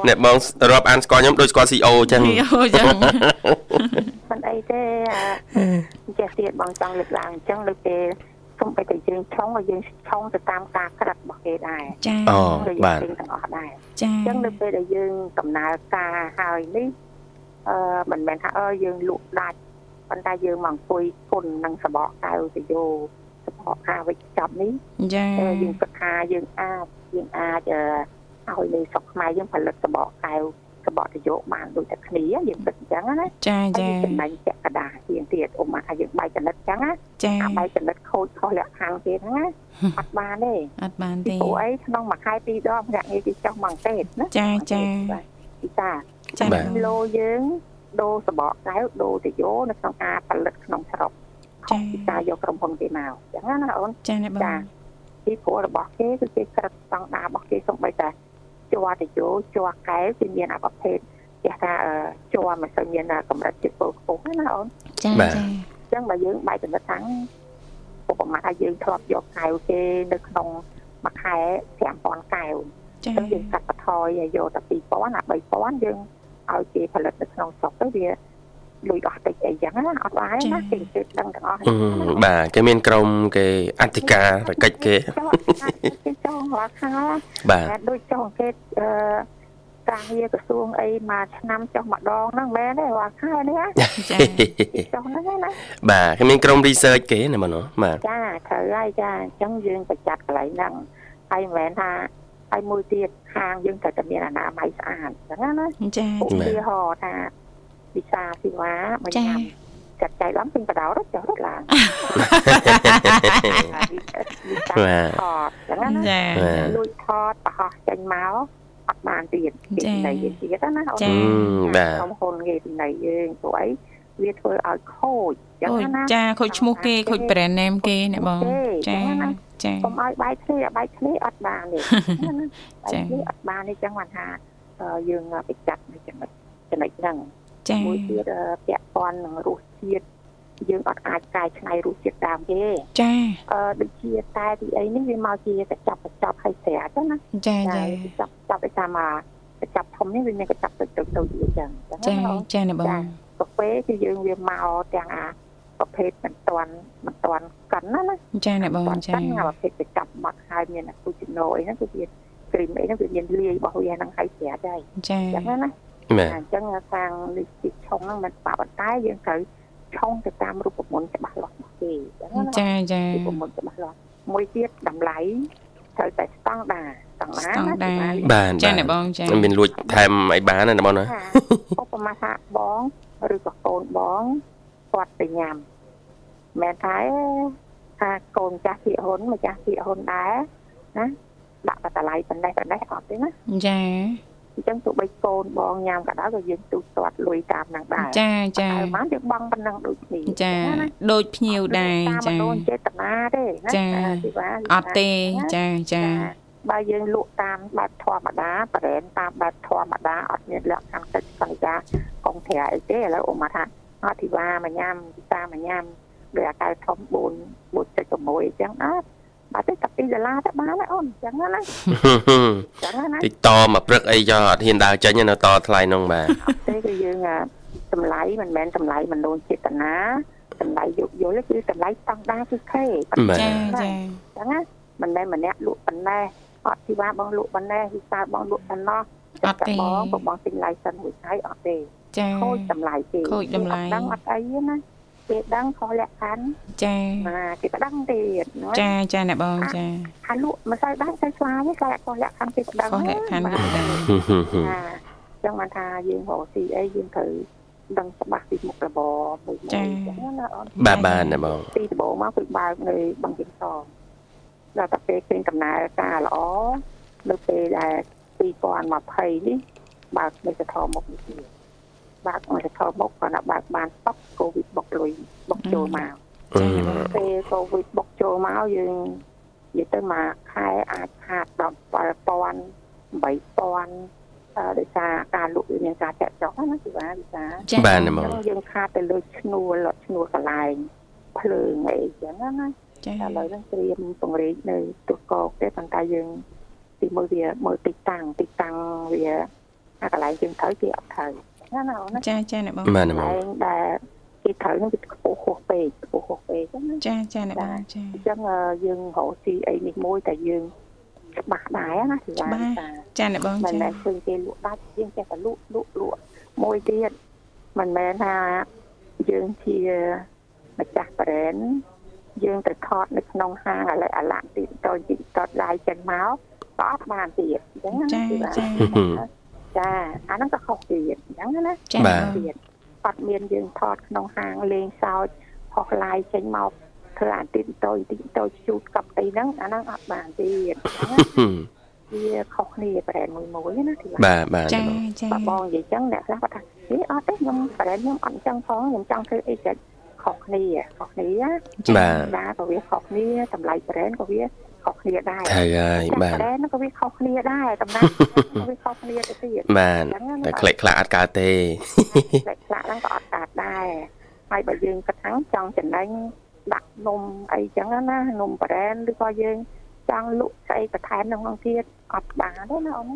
S1: អ្នកបងរាប់អានស្គាល់ខ្ញុំដូចស្គាល់ CEO អញ្ចឹង
S2: អូចឹង
S5: មិនអីទេអាចេះទៀតបងចង់លើកឡើងអញ្ចឹងលើកពេលសូម្បីតែយើងឆុងឲ្យយើងឆុងទៅតាមការក្រិតរបស់គេដែរ
S2: ចា
S1: អូ
S5: ដូច
S1: បាទ
S5: យើងទាំងអស់ដែរ
S2: ចា
S5: អញ្ចឹងលើកពេលដែលយើងដំណើរការហើយនេះអឺមិនមែនថាអឺយើងលក់ដាច់ប៉ុន្តែយើងមកអង្គុយគុណនឹងសបកកៅទៅយោសបកការវិជ្ជាចាប់នេះ
S2: ចា
S5: អឺយើងគិតថាយើងអាចយើងអាចអឺឲ្យលើស្រុកខ្មែរយើងផលិតសបកកែវសបកទយោបានដូចតែគ្នាយើងគិតអញ្ចឹងណា
S2: ចា
S5: ហើ
S2: ចា
S5: យចំណាញ់ចាក់កដាសទៀងទៀតអ៊ុំមកឲ្យយើងបាយចំណិតអញ្ចឹងណា
S2: ចា
S5: អាបាយចំណិតខូចខុសលក្ខខណ្ឌគេហ្នឹងណាអត់បានទេ
S2: អត់បាន
S5: ពី
S2: ទេ
S5: ព្រោះអីក្នុងមួយខែពីរដងភ្នាក់ងារគេចោះមកទេណា
S2: ចាចា
S5: ពីតា
S2: ចាអ្ន
S1: បាទ
S2: កបង
S5: លោយើងដូរសបកកែវដូរទយោនៅក្នុងការផលិតក្នុងស្រុកខុសពីតាយកក្រុមហ៊ុនគេមកអញ្ចឹងណាណាអូន
S2: ចាអ្នកបង
S5: ចាពីព្រោះរបស់គេគឺគេក្រិតស្តង់ដាររបស់គេសំបីតាជ័រតយោជ័រកែវគឺមានអបភេទគេថាអឺជ័រមិនសូវមានកម្រិតជាតិពុលខ្ពស់ណាអូន
S2: ចា
S1: បាទ
S2: ចា
S5: អញ្ចឹងបើយើងបែកចំណិតថាំងឧបមាថាយើងធ្លាប់យកកែវគេនៅក្នុងមួយខែ5000កែវ
S2: ចា
S5: អញ្ចឹងយើងកាត់បន្ថយឲ្យយកតែ2000ណា3000យើងឲ្យគេផលិតនៅក្នុងស្រុកទៅវាលុយអស់តិចអីចឹងណាអត់បានណាគេគេដឹងទាំងអស់
S1: អឺបាទគេមានក្រុមគេអធិការកិច្ចគេ
S5: ចូលគេចូលរាល់ខែ
S1: បាទ
S5: តែដូចចុះអង្កេតអឺការងារក្រសួងអីមួយឆ្នាំចុះម្ដងហ្នឹងមែនទេរាល់ខែនេះណា
S2: ចា
S5: ចុះហ្នឹងណា
S1: បាទគេមានក្រុម research គេណាបងណាបាទ
S5: ចាត្រូវហើយចាអញ្ចឹងយើងប្រចាត់កន្លែងហ្នឹងហើយមិនមែនថាហើយមួយទៀតខាងយើងត្រូវតែមានអនាម័យស្អាតអញ្ចឹងណា
S2: ចា
S5: ឧទាហរណ៍ថាវិសាស៊ីវ៉ាមួយ
S2: ចា
S5: ឆ្នាំចាត់ចែកឡើងពេញបដោរត់ចុះរត់ឡើងវិសាថតអញ្ចឹងណា
S2: ចា
S5: លួចថតប្រហោះចេញមកអត់បានទៀតគេនិយាយទៀតណា អូន
S1: អឺបាទ
S5: ក្រុមហ៊ុនគេពីណៃយើងព្រោះអីវាធ្វើឲ្យខូចចឹង
S2: អូ
S5: ណា
S2: ចាខូចឈ្មោះគេខូច brand name គេអ្នកបងចាចា
S5: កុំឲ្យបាយគ្នាបាយគ្នាអត់បាន ទេបាយគ្នាអត់បានទេចឹងបានថាយើងបិចាត់នៅចំណុចចំណុចហ្នឹង
S2: ចា
S5: មួយទៀតពាក់ព័ន្ធនឹងរសជាតិយើងអត់អាចកែឆ្នៃរសជាតិតាមគេ
S2: ចា
S5: អឺដូចជាតែពីអីនេះវាមកជាកញ្ចប់កញ្ចប់ឲ្យស្រាចឹងណា
S2: ចាចា
S5: ចាកញ្ចប់កញ្ចប់ឲ្យតាមកញ្ចប់ធំនេះវាមានកញ្ចប់ទៅទៅទៅចឹងចឹ
S2: ចា
S5: ងណា
S2: ចាអ្នកបង
S5: កាហ្វេគឺយើងវាមកទាំងអាប្រភេទមិនតាន់មិនតាន់កិនណាណា
S2: ចាអ្នកបង
S5: មិន
S2: ចា
S5: តាន់កិនអាប្រភេទទៅចាប់មកហើយមានអាគូជីណូអីហ្នឹងគឺវាគ្រីមអីហ្នឹងវាមានលាយរបស់វាហ្នឹងហើយស្រាប់ហើយ
S2: ចា
S5: អញ្ចឹងណាណា
S1: បាទ
S5: អញ្ចឹងខាងនេះទីឆុងហ្នឹងมันបាក់ប៉ុន្តែយើងត្រូវឆុងទៅតាមរូបមន្តច្បាស់លាស់របស់គេអញ្ចឹងណា
S2: ចាចា
S5: រូបមន្តច្បាស់លាស់មួយទៀតតម្លៃត្រូវតែស្តង់ដារស្តង់ដារណាស្តង់ដារ
S1: បាទ
S2: ចាអ្នកបងចា
S1: បាទមានលួចថែមអីបានណា បងណា
S5: ថាឧបមាថាបងឬក៏កូនបងគាត់ទៅញ៉ាំមែនថាអេថាកូនម្ចាស់ភៀកហ៊ុនម្ចាស់ភៀកហ៊ុនដែរណាដាក់បតម្លៃបណ្ដេះបណ្ដេះអត់ទេណា
S2: ចា
S5: អញ្ចឹងទោះបីកូនបងញ៉ាំក៏ដោយក៏យើងទូទាត់លុយតាមហ្នឹងដែរ
S2: ចាចា
S5: តែប៉ុន្មានយើងបង់ប៉ុណ្ណឹងដូចគ្នា
S2: ចា
S5: ណាណា
S2: ដូចភ្ញៀវដែរ
S5: តាមម
S2: ចា
S5: នោចេតនាទេណា
S2: ចា
S5: អាជីវៈ
S2: អត់ទេ
S5: ចា
S2: ចាចា
S5: បើយើងលក់តាមបែបធម្មតាប្រែនតាមបែបធម្មតាអត់មានលក្ខខណ្ឌកិច្ចសន្យាកងប្រាអីទេឥឡូវអូម៉ាថាអធិវាមកញ៉ាំតាមមកញ៉ាំដោយអាកៅធំ4 4.6អញ្ចឹងអត់បើទៅតែ2ដុល្លារទៅបានហើយអូនអញ្ចឹងណាអញ្ចឹងណា
S1: តិចតមកព្រឹកអីចោះអត់ហ៊ានដើរចេញទេនៅតថ្លៃនោះបាទ
S5: ទេគឺយើងអាតម្លៃមិនមែនតម្លៃមនោចេតនាតម្លៃយោគយល់ទេគឺតម្លៃស្តង់ដារគឺខេអ
S1: បាទ
S2: ចាចា
S5: ញ្ចឹងណាមិនមែនម្នាក់លក់ប៉ុណ្ណេះអត់ជីវ៉ាបងលក់ប៉ុណ្ណេះវិសាលបងលក់ប៉ុណ្ណោះចិត្តបងបងបងទិញ license មួយឆៃអត់ទេ
S2: ចា
S5: ខូចតម្លៃទេ
S2: ខូចតម្លៃ
S5: គេអត់ដឹងអត់អីទេណាគេដឹងខុសលក្ខខណ្ឌ
S2: ចា
S5: ណាគេក៏ដឹងទៀតណា
S2: ចាចាអ្នកបងចា
S5: អាលក់មិនសូវបានស្អីឆ្លាយទេគេខុសលក្ខខណ្ឌគេក៏ដឹង
S2: ខុសលក្ខខណ្ឌក៏
S5: ណា
S2: ដែរ
S1: ហឹមហឹមហឹម
S5: ចាចឹងបានថាយើងរកស៊ីអីយើងត្រូវដឹងច្បាស់ពីមុខរបរមួយមួយអញ្ចឹងណាអូន
S1: បាទបាទណាបង
S5: ពីដំបូងមកគឺបើកនៅបឹងជើងសងដល់តែពេលឃើញដំណើរការល្អនៅពេលដែល2020នេះបើកនៅសធមុខនេះទៀតបើកនៅសធមុខគ្រាន់តែបើកបានស្តុកកូវីដបុកលុយបុកចូលមក
S1: អឺ
S5: ពេលកូវីដបុកចូលមកយើងនិយាយទៅមកខែអាចខាតដល់7000 8000អឺដោយសារការលក់វាមានការចាក់ចុះណាគឺថាវិសា
S2: ចា
S1: បាទណា
S5: អ
S1: ប
S5: ញ្ចឹ
S1: ង
S5: ងយើងខាតទៅលើឈ្នួលឈ្នួលកន្លែងភ្លើងអីអញ្ចឹងណា
S2: ចា
S5: តែឥឡូវហ្នឹងត្រៀមពង្រីកនៅទូកកទេប៉ុន្តែយើងទីមើលវាមើលទីតាំងទីតាំងវាអាកន្លែងជាងត្រូវគេអត់ត្រូវណាណាអូនណា
S2: ចាចាអ្នកបង
S1: បាទ
S5: ក
S1: ណាបង
S5: ន្លែងដែលគេត្រូវហ្នឹងវាខ្ពស់ហួសពេកខ្ពស់ហួសពេកអញ្ចឹងណា
S2: ចាចាអ្នកបងចា
S5: អញ្ចឹងអឺយើងរកស៊ីអីនេះមួយតែយើងច្បាស់ដែរណាគឺថា
S2: ច្បាស់ ចាអ្នកបង
S5: មិន
S2: ចា
S5: មែនឃើញគេលក់ដាច់យើងចេះតែលក់លក់លក់មួយទៀតមិនមែនថាយើងជាម្ចាស់ brand យើងទៅថតនៅក្នុងហាងឥឡូវអាឡាក់ទីតជីតតឡាយចឹងមកក៏អត់បានទៀតអញ្ចឹ
S2: ចា
S5: ងណា
S2: ចា
S1: ហឹមហឹម
S5: ចាអាហ្នឹងក៏ខុសទៀតអញ្ចឹងណា
S2: ចា
S1: បាទ
S5: ទៀតអត់មានយើងថតក្នុងហាងលេងសើចផុសឡាយចេញមកធ្វើអាទិតតូចតិចតូចជូតកັບអីហ្នឹងអាហ្នឹងអត់បានទៀត
S1: ហឹម
S5: វាខុសគ្នាប្រែនមួយមួយណាទី
S1: បាទបាទ
S2: ចា
S1: ណាបង
S2: ចា
S5: បាទបងនិយាយចឹងអ្នកខ្លះគាត់ថានេះអត់ទេខ្ញុំប្រែនខ្ញុំអត់ចឹងផងខ្ញុំចង់ធ្វើអីចឹងខុសគ្នាខុសគ្នាណា
S1: បាទ
S5: ដែរក៏វាខុសគ្នាតម្លៃប្រែនក៏វាខុសគ្នាដែរ
S1: ហើយហើយ
S5: ចា
S1: បាទ
S5: ប្រែនក៏វាខុសគ្នាដែរតម្លៃក៏វាខុសគ្នាទៅទៀត
S1: បាទតែខ្លេចខ្លាអត់កើតទេ
S5: តែខ្លះហ្នឹងក៏អត់កើតដែរហើយបើយើងគិតថាចង់ចំណេញដាក់นมអីចឹងណាนมប្រេនឬក៏យើងចង់លក់ស្អីបន្ថែមហ្នឹងផងទៀតអត់បានទេណាអូន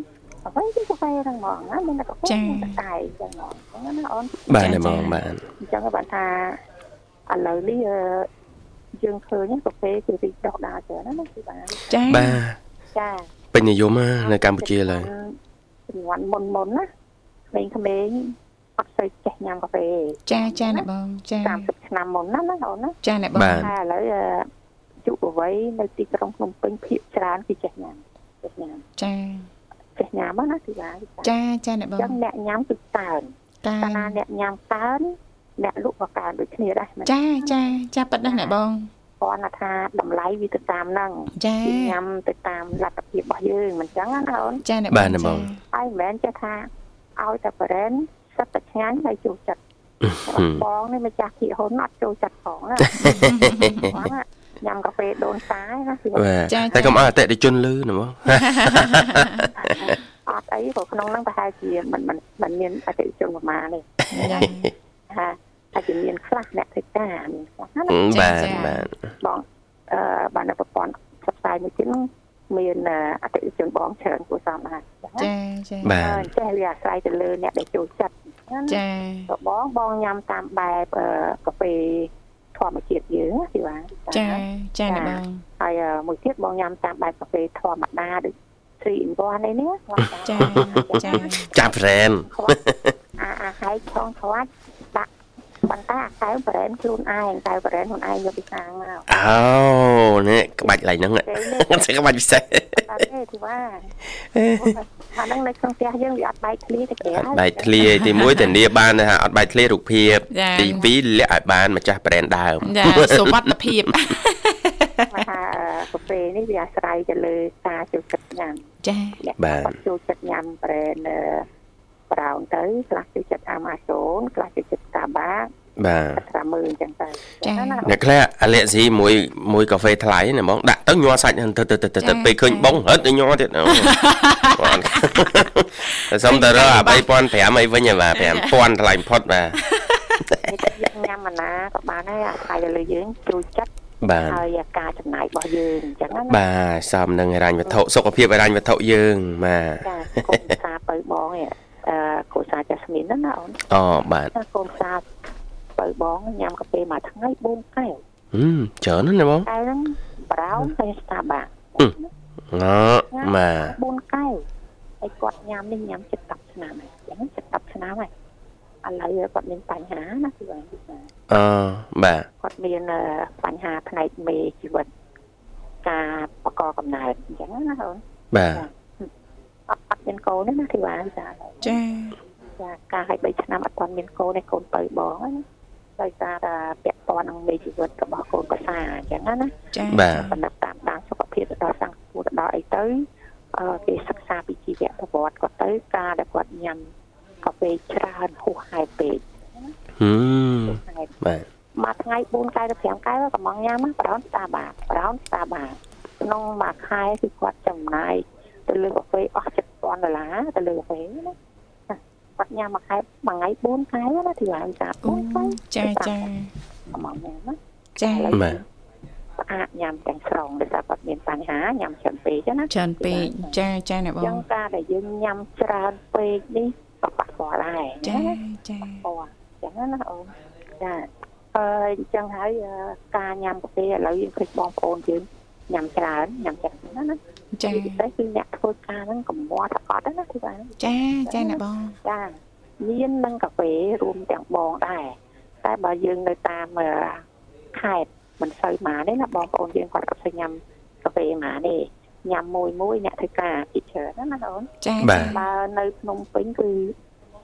S5: អ្វីគឺកាហ្វេហ្នឹងហ្មងណាមានតែកាហ្វេមានតែតែចឹងហ្មងចឹងណាអូន
S1: បាទណាបងបាទ
S5: អញ្ចឹងក៏បានថាឥឡូវនេះអឺយើងឃើញកាហ្វេគឺរីកដុះដាលច្រើនណាណាគឺបាន
S2: ចា
S1: បាទ
S5: ចា
S1: ពេញនិយមណានៅកម្ពុជាឡើយ
S5: ចំនួនមុនមុនណាក្មេងៗអត់ស្អីចេះញ៉ាំកាហ្វេ
S2: ចាចាអ្នកបងចា
S5: 30ឆ្នាំមុនណាណាអូនណា
S2: ចាអ្នកបង
S1: បាទ
S5: តែឥឡូវអឺយុវវ័យនៅទីក្រុងភ្នំពេញភាគច្រើនគឺចេះញ៉ាំចេះញ៉ាំ
S2: ចា
S5: ចេះញ៉ាំហ្នឹងណាទីឡាទីឡា
S2: ចាចាអ្នកបង
S5: ចឹងអ្នកញ៉ាំគឺកើន
S2: តា
S5: កាលណាអ្នកញ៉ាំកើនអ្នកលក់ក៏កើនដូចគ្នាដែរមិន
S2: ចាចាចាប៉ិតណាស់អ្នកបង
S5: គ្រាន់តែថាតម្លៃវាទៅតាមហ្នឹង
S2: ចា
S5: គឺញ៉ាំទៅតាមលទ្ធភាពរបស់យើងមិនចឹងណាអូន
S2: ចាអ្នក
S1: បាទណា
S2: ប
S1: បង ង
S5: ហើយមិនមែនចេះថាឲ្យតែ brand សិតតែឆ្ងាញ់ហើយចូលចិត្ត
S1: ហឹម
S5: បងនេះម្ចាស់ភាគហ៊ុនអត់ចូលចិត្តផងណា គាត់ណាញ៉ាំកាហ្វេដូនតាឯណាគឺថា
S1: បាទតែកុំអត់អតិថិជនលឺណាបង
S5: អត់អីព្រោះក្នុងហ្នឹងប្រហែលជាមិនមិនមិនមានអតិថិជនប្រមាណ ទេ
S2: ចា
S5: ថាអាចជាមានខ្លះអ្នកធ្វើការមានខ្លះណាណា
S1: បាទបាទ
S5: បងអឺបាននៅប្រព័ន្ធផ្សព្វផ្សាយមួយទៀតហ្នឹងមានអឺអតិថិជនបងច្រើនគួរសមដែរ
S2: ចាចា
S1: បា
S5: អឺ
S1: ទ
S5: ចេះវាអាស្រ័យទៅលើអ្នកដែលចូលចិត្តណាណា
S2: ចា
S5: ក៏បងបងញ៉ាំតាមបែបអឺកាហ្វេធម្មជាតិយើងណាទីបាន
S2: ចាចាអ្នកបង
S5: ហើយអឺមួយទៀតបងញ៉ាំតាមបែបកាហ្វេធម្មតាដូច 3 in 1អីនេះណា
S2: ចាចា
S1: ចាប់ហ្រែន
S5: ខ្វាច់អាអាហែកឆងខ្វាច់ដាក់បន្តែអាកែវប្រេនខ្លួនឯងកែវប្រេនខ្លួនឯងយកពីខាង មក
S1: អោនេះក្បាច់ឡៃហ្នឹង
S5: ពេលនេះ
S1: តែក្បាច់ពិសេស
S5: អត់ទេ ទីว่าអាហ្នឹងនៅក្នុងផ្ទះយើងវាអត់បែកធ្លីទៅគេ
S1: អត់បែកធ្លាយទី1ធានាបានថាអត់បែកធ្លាយរូបភាពទី2លាក់ឲ្យបានម្ចាស់ brand ដើម
S2: ចាសុវត្ថិភាព
S5: ថាអឺកាហ្វេនេះវាអាស្រ័យទៅលើការចូលចិត្តញ៉ាំ
S2: ចា
S5: អ្នក
S1: បាទ
S5: គាត់ចូលចិត្តញ៉ាំប្រេនប្រោនទៅខ្លះចូលចិត្តអាម៉ាសូនខ្លះចូលចិត្តតាបា
S1: បាទ
S5: កត្រាមើលអញ្ចឹងទៅ
S2: ចា
S1: អ្នកខ្លះអាឡែស៊ីមួយមួយកាហ្វេថ្លៃណាហ្មងដាក់ទៅញ័រសាច់ហ្នឹងទៅទៅទៅទៅ
S2: ចា
S1: ទៅពេលឃើញ
S2: ចា
S1: បងហិតទៅញ័រទៀតអូបាទតែ សុំទៅរកអា3500អីវិញហ៎បាទ5000ថ្លៃបំផុតបាទ
S5: យើងញ៉ាំអាណាក៏បានដែរអាស្រ័យទៅលើយើងចូលចិត្ត
S1: បាទ
S5: ហើយការចំណាយរបស់យើងអញ្ចឹងណា
S1: បាទសំនឹងហិរញ្ញវត្ថុសុខភាពហិរញ្ញវត្ថុយើងបាទ
S5: ចាកូនសាបើបងឯងអឺកូនសាចាស់ស្មីនហ្នឹងណាអូន
S1: អូបាទ
S5: ចាកូនសាបើបងញ៉ាំកាហ្វេមួយថ្ងៃ4កែវ
S1: ហឹមច្រើនណាស់ណាបង
S5: កែវហ្នឹងប្រោនហើយស្តាបាក់
S1: ណោបាទ
S5: 4កែវហើយគាត់ញ៉ាំនេះញ៉ាំជិត10ឆ្នាំហើយអញ្ចឹងជិត10ឆ្នាំហើយឥឡូវគាត់មានបញ្ហាណាគឺបង
S1: អូបាទ
S5: គាត់មានអឺបញ្ហាផ្នែកមេជីវិតការបង្កកំណើតអញ្ចឹងណាអូន
S1: បាទ
S5: អត់អត់មានកូនទេណាគឺបងចា
S2: ចា
S5: ចាការឲ្យ3ឆ្នាំអត់ទាន់មានកូនឯកូនទៅបងហ្នឹងណាដោយសារតែពាក់ព័ន្ធនឹងមេជីវិតរបស់កូនប្រសាអញ្ចឹងណាណា
S2: ចា
S1: បាទ
S5: បណ្ដាប់តាមដានសុខភាពទៅដល់សង្គមទៅដល់អីទៅអឺគេសិក្សាពីជីវប្រវត្តិគាត់ទៅការដែលគាត់ញ៉ាំកាហ្វេច្រើនហួសហេតុពេក
S1: ហឹម
S5: ហេតុ
S1: បាទ
S5: មួយថ្ងៃ4កែវទៅ5កែវកំងញ៉ាំណាប្រហែលស្តារបាតប្រហែលស្តារបាតក្នុងមួយខែគឺគាត់ចំណាយទៅលើកាហ្វេអស់7000ដុល្លារទៅលើកាហ្វេណាណាគាត់ញ៉ាំមួយខែមួយថ្ងៃ4កែវណាទីឡើងចា
S2: អូ
S5: 4កែវ
S2: ចាចា
S5: អាមកញ៉ាំណា
S2: ចា
S1: បាទ
S5: ស្អាតញ៉ាំទាំងស្រុងដោយសារគាត់មានបញ្ហាញ៉ាំច្រើនពេកចឹងណា
S2: ច្រើនពេកចាចាអ្នកប
S5: ចឹ
S2: ង
S5: ងការដែលយើងញ៉ាំច្រើនពេកនេះក៏ប៉ះពាល់ដែរ
S2: ចា
S5: ណា
S2: ចា
S5: ប៉ះចឹងណាណាអូនចាអឺអញ្ចឹងហើយអឺការញ៉ាំកាហ្វេឥឡូវយើងឃើញបងប្អូនយើងញ៉ាំច្រើនញ៉ាំច្រើនណាណា
S2: ចា
S5: ពិសេសគឺអ្នកធ្វើការហ្នឹងកម្រតែអត់ណាគឺបាន
S2: ចាចាអ្នកបង
S5: ចាញៀននិងកាហ្វេរួមទាំងបងដែរតែបើយើងនៅតាមអឺខេត្តមិនសូវមកទេណាបងប្អូនយើងគាត់ក៏សូវញ៉ាំកាហ្វេមកទេញ៉ាំមួយមួយអ្នកធ្វើការពីច្រើនណាណាអូន
S2: ចា
S1: បាទ
S5: បើនៅភ្នំពេញគឺ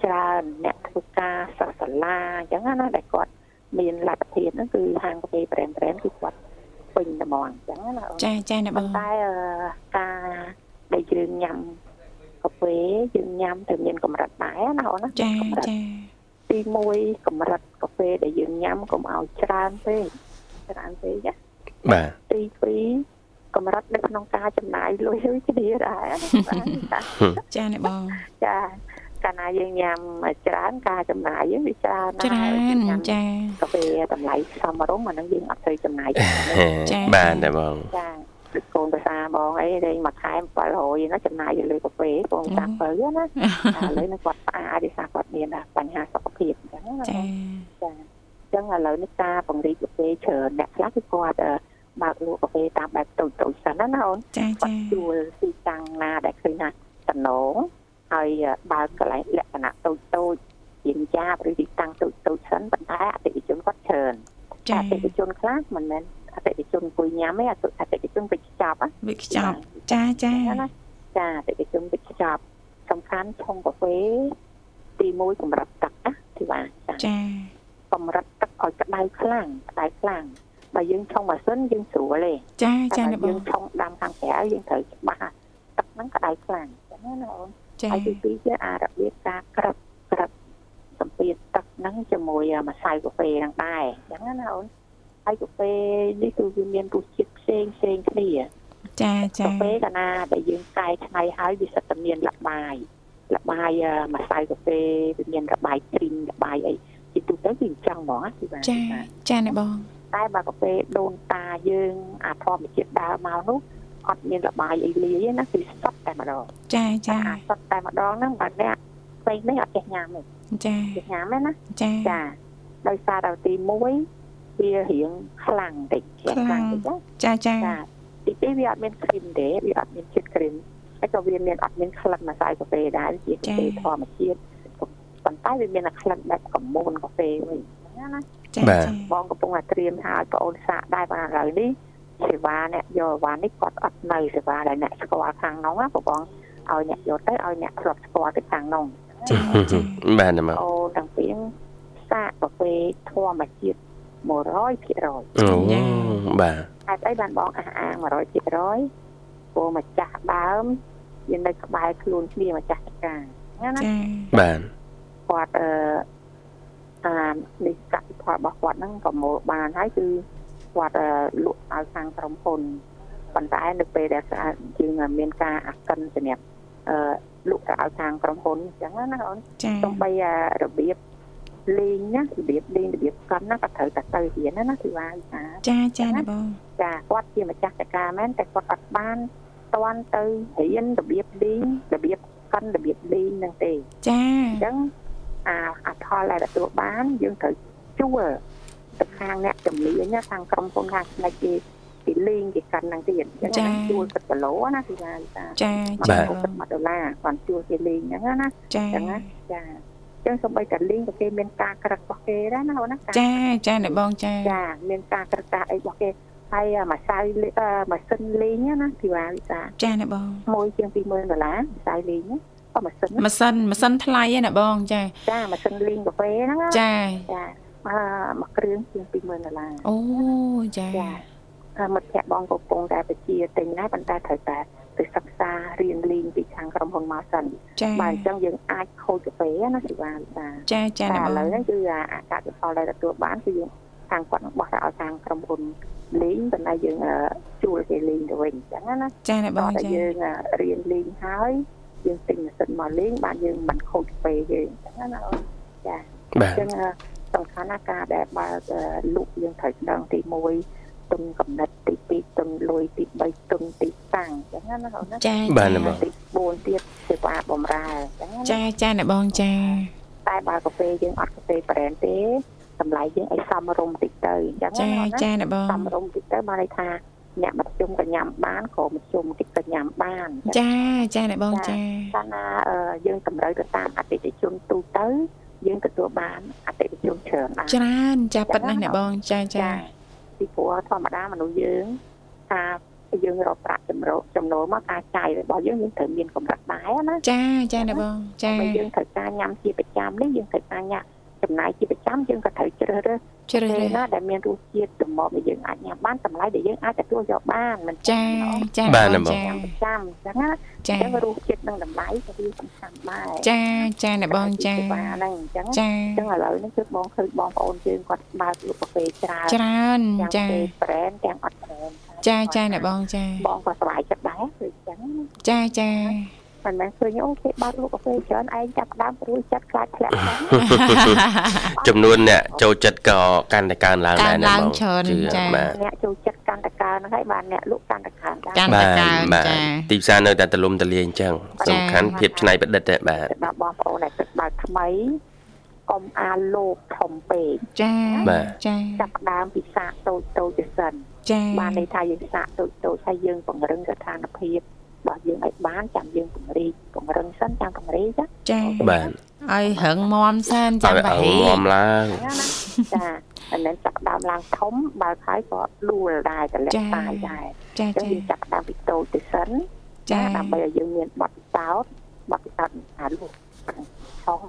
S5: ច្រើនអ្នកធ្វើការសិស្សសាលាអញ្ចឹងណាណាដែលគាត់មានលទ្ធភាពហ្នឹងគឺហាងកាហ្វេ brand brand គឺគាត់ពេញតែហ្មងអញ្ចឹងណាណាអូន
S2: ចាចាអ្នកប
S5: ប៉ុ
S2: ង
S5: ន្តែអឺការដែលយើងញ៉ាំកាហ្វេយើងញ៉ាំទៅមានកម្រិតដែរណាអូនណា
S2: ចា
S5: កម្រិត
S2: ចា
S5: ទី1កម្រិតកាហ្វេដែលយើងញ៉ាំកុំឲ្យច្រើនពេកច្រើនពេកណា
S1: បាទ
S5: ទី2កម្រិតនៅក្នុងការចំណាយលុយហ្នឹងគ្នាដែរ ណា ចា
S2: ចាអ្នកបង
S5: ចាកាលណាយើងញ៉ាំច្រើនការចំណាយយើងវាច្រើនណាស់
S2: ច្រើ
S5: ហើយយើង
S2: ន
S5: ញ៉ាំ
S2: ចា
S5: កាហ្វេតម្លៃសមរម្យអាហ្នឹងយើងអត់ត្រូវចំណាយច្រើនទេ
S2: ចា
S1: បាទតែបង
S5: ចាដូចកូនប្រសាបងអីលេងមួយខែ700ឯណាចំណាយទៅលើកាហ្វេកូនតាំងទៅណា ឥឡូវនេះគាត់ស្អាតដោយសារគាត់មានបញ្ហាសុខភាពអញ្ចឹងណា
S2: ចា
S5: ចាអញ្ចឹងឥឡូវនេះការពង្រីកកាហ្វេច្រើនអ្នកខ្លះគឺគាត់អឺបើកលក់កាហ្វេតាមបែបតូចតូចៗសិនណាណាអូន
S2: ចា
S5: គា
S2: ចា
S5: ត់ជួលទីតាំងណាដែលឃើញថាតំណងហើយអឺបើកកន្លែងលក្ខណៈតូចតូចៗជាយ៉ាបឬទីតាំងតូចតូចៗសិនប៉ុន្តែអតិថិជនគាត់ច្រើន អ
S2: ចា
S5: តិថិជនខ្លះមិនមែនអតិថិជនអង្គុយញ៉ាំទេអតិអតិថិជនវិជ្ជាប់ហ
S2: វិខ្ចប់ចាចា
S5: ៎ណាចាអតិថិជនវិជ្ជាប់សំខាន់ឆុងកាហ្វេទី1កម្រិតទឹកណាទីបានចា
S2: ចា
S5: កម្រិតទឹកឲ្យក្តៅខ្លាំងក្តៅខ្លាំងបើយើងឆុងម៉ាស៊ីនយើងស្រួលទេ
S2: ចា
S5: តែ
S2: ចាអ្នកប
S5: បើយើង ងឆុងដាំខាងក្រៅយើងត្រូវច្បាស់ថាទឹកហ្នឹងក្តៅខ្លាំងចឹងណាណាអូន
S2: ចា
S5: ហើយទី2គឺអារបៀបការក្រឹបក្រឹបសម្ពាធទឹកហ្នឹងជាមួយម្សៅកាហ្វេហ្នឹងដែរចឹងណាណាអូនហើយកាហ្វេនេះគឺវាមានរសជាតិផ្សេងផ្សេងគ្នា
S2: ចាចា
S5: កាហ្វេកាលណាដែលយើងកែច្នៃហើយវាសិតតែមានលបាយលបាយអឺម្សៅកាហ្វេវាមានលបាយគ្រីមលបាយអីជាទូទៅគឺអញ្ចឹងហ្មងណាគឺបាន
S2: ចាចាអ្នកបង
S5: តែបើកាហ្វេដូនតាយើងអាធម្មជាតិដើរមកនោះអត់មានលបាយអីលាយទេណាគឺសុទ្ធតែម្ដង
S2: ចា
S5: តែ
S2: ចា
S5: អាសុទ្ធតែម្ដងហ្នឹងបើអ្នកផ្សេងនេះអត់ចេះញ៉ាំទេ
S2: ចា
S5: ចេះញ៉ាំទេណា
S2: ចា
S5: ចាដោយសារតែទី1វារៀងខ្លាំងតិចរៀតិចណា
S2: ចាចា
S5: ចាទីពីរវាអត់មានគ្រីមទេវាអត់មានជាតិគ្រីមហើយក៏វាមានអត់មានក្លិនម្សៅកាហ្វេដែរជាកាហ្វេធម្មជាតិប៉ុន្តែវាមានតែក្លិនបែបកមូនកាហ្វេវិញណាណា
S2: ចា
S5: បងកំពុងតែត្រៀមហើយបងអូនសាកដែរបើឥឡូវនេះសេវាអ្នកយកអីវ៉ាន់នេះគាត់អត់នៅសេវាដែលអ្នកស្គាល់ខាងនោះណាបងឲ្យអ្នកយកទៅឲ្យអ្នកធ្លាប់ស្គាល់ទៅខាងនោះ
S2: ចាចា
S1: បាទតែបង
S5: អូទាំងពីរសាកកាហ្វេធម្មជាតិ100%
S1: អូបាទ
S5: ហេតុអីបានបងអះអាង100%ព្រោះម្ចាស់ដើមវានៅក្បែរខ្លួនគ្នាម្ចាស់ចការណាណា
S2: ចា
S1: បាទ
S5: គាត់អឺតាមនេះកសិផលរបស់គាត់ហ្នឹងប្រមូលបានហើយគឺគាត់អឺលក់ដល់ខាងក្រុមហ៊ុនប៉ុន្តែនៅពេលដែលស្អាតជាងមានការអាកិនសម្រាប់អឺលក់ទៅឲ្យខាងក្រុមហ៊ុនអញ្ចឹងណាណាអូន
S2: ចា
S5: សំបីអារបៀបលេងណារបៀបលេងរបៀបកាន់ណាក៏ត្រូវតែទៅរៀនណាណាគឺវាយថា
S2: ចាចាណាបង
S5: ចាគាត់ជាម្ចាស់ចការមែនតែគាត់អត់បានតាន់ទៅរៀនរបៀបលេងរបៀបកាន់របៀបលេងហ្នឹងទេ
S2: ចា
S5: អញ្ចឹងអាអាផលដែលទទួលបានយើងត្រូវជួលទៅខាងអ្នកជំនាញណាខាងក្រុមហ៊ុនខាងផ្នែកគេគេលេងគេកាន់ហ្នឹងទៀតអញ្ចឹងយើងជួលទឹកគីឡូណាគឺថាថា
S2: ចា
S5: បា
S2: ចា
S5: ទទឹក1ដុល្លារគាត់ជួលគេលេងហ្នឹងណាណា
S2: ចា
S5: អញ្ចឹងណាចាអញ្ចឹងសូម្បីតែលេងក៏គេមានការក្រឹករបស់គេដែរណាអូនណា
S2: ចាចាណាបងចា
S5: ចាមានការក្រឹកការអីរបស់គេហើយអាមួយសៅលេអឺម៉ាស៊ីនលេងណាណាធីវ៉ាវិសា
S2: ចាណាបង
S5: មួយជាង20000ដុល្លារសៅលេងណាអស់ម៉ាស៊ីនណា
S2: ម៉ាសិនម៉ាសិនថ្លៃណាបងចា
S5: ចាម៉ាស៊ីនលេងកាហ្វេហ្នឹងណា
S2: ចា
S5: ចាអឺមួយគ្រឿងជាង20000ដុល្លារ
S2: អូចា
S5: ចាអឺមិត្តភក្តិបងកំពុងតែបជាទិញដែរប៉ុន្តែត្រូវតែទៅសិក្សារៀនលេងពីខាងក្រុមហ៊ុនមកសិន
S2: ចា
S5: បាទអញ្ចឹងយើងអាចខូចកាហ្វេណាសិវាលីតា
S2: ចាចា
S5: តែ
S2: ណា
S5: ឥ
S2: ប
S5: ឡូវ
S2: ង
S5: ហ្នឹងគឺអាអាកាសផលដែលទទួលបានគឺយើងខាងគាត់នឹងបោះទៅឲ្យខាងក្រុមហ៊ុនលេងប៉ុន្តែយើងអឺជួលគេលេងទៅវិញអញ្ចឹងណាណា
S2: ចាណាប
S5: តោះ
S2: ង
S5: តែ
S2: ចា
S5: យើងអឺរៀនលេងហើយយើងទិញម៉ាស៊ីនមកលេងបានយើងមិនខូចកាហ្វេយើងអញ្ចឹងណាអូន
S1: បាទ
S5: ចឹងអឺសំខាន់ណាស់ការដែលបើកអឺលក់យើងត្រូវស្ដឹងទី1ទុនកំណត់ទី2ទុនលុយទី3ទុនទីតាំងចឹងណាបងណា
S2: ចា
S1: បាទណាបង
S5: ទី4ទៀតសេវាបំរើចឹងណា
S2: ចាចាណាបងចា
S5: តែបើកាហ្វេយើងអត់កាហ្វេប្រេនទេតម្លៃយើងឲ្យសមរម្យតិចទៅចឹង
S2: ចា
S5: ណាបងណា
S2: ចាណាបង
S5: សមរម្យតិចទៅបានន័យថាអ្នកមធ្យមក៏ញ៉ាំបានក៏មធ្យមតិចក៏ញ៉ាំបានចឹង
S2: ចាចាណាបងចា
S5: កាលណាអឺយើងតម្រូវទៅតាមអតិថិជនទូទៅយើងទទួលបានអតិថិជនច្រើនដែរ
S2: ច្រើនចាប៉ិតណាស់ណាបងចាចា
S5: ពីព្រោះធម្មតាមនុស្សយើងថាយើងរកប្រាក់ចំណូលចំណូលមកការចាយរបស់យើងយើងត្រូវមានកម្រិតដែរណា
S2: ចាចាណាបងចា
S5: តែយើងត្រូវការញ៉ាំជាប្រចាំនេះយើងត្រូវការញ៉ាំចំណាយជាប្រចាំយើងក៏ត្រូវជ្រើសរើស
S2: ជ្រើសរើ
S5: ពេល
S2: ស
S5: ណាដែលមានរសជាតិទំនប់ដែលយើងអាចញ៉ាំបានតម្លៃដែលយើងអាចទទួលយកបានមិន
S2: ចាចា
S1: បាទណាបង
S2: ចា
S5: ប្រចាំអញ្ចឹង
S2: ចា
S5: ណាអញ្ចឹងរសជាតិនិងតម្លៃក៏វាសំខាន់ដែរ
S2: ចាចាណាបងចា
S5: ពីសេវាហ្នឹងអញ្ចឹង
S2: ចា
S5: អញ្ចឹងឥឡូវនេះគឺបងឃើញបងប្អូនយើងគាត់បើកលក់កាហ្វេច្រើន
S2: ច្រើន
S5: ទាំងកា
S2: ចា
S5: ហ្វេប្រេនទាំងអត់ប្រេន
S2: ចាចាណាបងចា
S5: បងក៏សប្បាយចិត្តដែរគឺអញ្ចឹងណា
S2: ចាចា
S5: មិនមែនឃើញអូ គេបើកលក់កាហ្វេច្រើនឯងចាប់ផ្ដើមព្រួយចិត្តខ្លាចធ្លាក់ចឹង
S1: ចំនួនអ្នកចូលចិត្តក៏កាន់តែកើនឡើង
S2: កា
S1: ដែរ
S2: ន
S1: ណា
S2: ឡើង
S1: បង
S2: ច្រើន
S1: ជឿ
S2: ចា
S1: បាទ
S5: អ្នកចូលចិត្តកាន់តែកើនហ្នឹងហើយបានអ្នកលក់កាន់តែកើនដែរ
S2: កាន
S1: បា
S2: តែ
S1: ទ
S2: កើន
S1: បាទ
S2: ចា
S1: ទីផ្សារនៅតែទលំទលាយអញ្ចឹង
S2: ចា
S1: សំខាន់ភាពច្នៃប្រឌិតដែរបាទ
S5: សម្រាប់បងប្អូនដែលគិតបើកថ្មីកុំអាលោភធំពេក
S2: ចា
S1: បាទ
S2: ចា
S5: ចាប់ផ្ដើមពីសាកតូចតូចទៅសិន
S2: ចា
S5: បានន័យថាយើងសាកតូចតូចហើយយើងពង្រឹងស្ថានភាពរបស់យើងឲ្យបានចាំយើងពង្រីកពង្រឹងសិនចាំពង្រីក
S2: ចា
S1: បាទ
S2: ឲ្យរឹងមាំសាន
S1: អ
S2: ចា
S1: រ
S2: បា
S1: ឲ្យ
S2: ហី
S1: ងំឡើង
S5: ណាណាចាមិនមែនចាប់ផ្ដើមឡើងធំបើកហើយក៏លួលដែរតែលាក់តាយដែរ
S2: ចា
S5: ចឹង
S2: ចា
S5: យើងចាប់ផ្ដើមពីតូចទៅសិន
S2: ចា
S5: ណាដើម្បីឲ្យយើងមានបទពិសោធន៍បទពិសោធន៍អាលោកឆោពិសោធ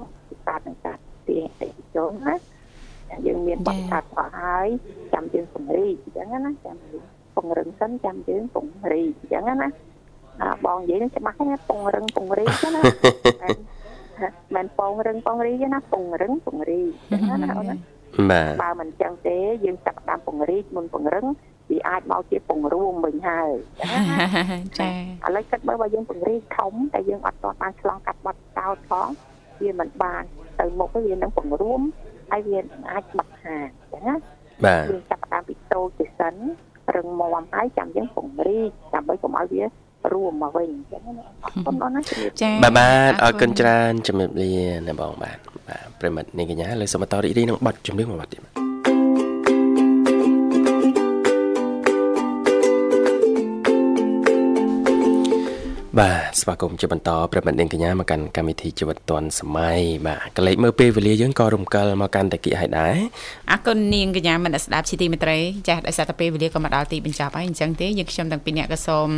S5: ន៍នឹងការទីអតិថិជនណាតែយើងមានបទពិសោធន៍ផងហើយចាំយើងពង្រីកអញ្ចឹងណាចាំយើងពង្រឹងសិនចាំយើងពង្រីកអញ្ចឹងណាអាបងនិយាយនឹងច្បាស់ណាពង្រឹងពង្រីក ណាមិនមែនពង្រឹងពង្រីកទេណាពង្រឹងពង្រីកអញ្ចឹង ណាអូនណា
S1: បាទ
S5: បើមិនចឹងទេយើងចាប់ផ្ដើមពង្រីកមុនពង្រឹងវាអាចមកជាពង្រួមវិញហើយ ចឹងណា
S2: ចា
S5: ឥឡូវគិតមើលបើយើងពង្រីកធំតែយើងអត់ទាន់បានឆ្លងកាត់បទចោតផងវាមិនបានទៅមុខទេវានឹងពង្រួមហើយវាអាចបាត់ខាតអញ្ចឹងណា
S1: បាទ
S5: យើងចាប់ផ្ដើមពីតូចទៅសិនរឹងមាំហើយចាំយើងពង្រីកដើម្បីកុំឲ្យវារួមមកវិញអញ្ចឹងណាអរគុណបងណាជំរាប
S2: ចា
S1: បាទបាទអរគុណច្រើនជំរាបលាណាបងបាទបាទប្រិមិត្តនាងកញ្ញាលើសមតរីករាយនឹងបတ်ជំនឿមួយបတ်ទៀត បាទស្វាគមន៍ជាបន្តប្រិមត្តនាងកញ្ញាមកកាន់កម្មវិធីជីវិតឌွန်សម័យបាទកលេចមើលពេលវេលាយើងក៏រំកិលមកកាន់តាគិឲ្យដែរ
S2: អរគុណនាងកញ្ញាមនស្ដាប់ជាទីមេត្រីចាស់ដោយសារតែពេលវេលាក៏មកដល់ទីបញ្ចប់ហើយអញ្ចឹងទេយើងខ្ញុំទាំងពីរអ្នកក៏សូម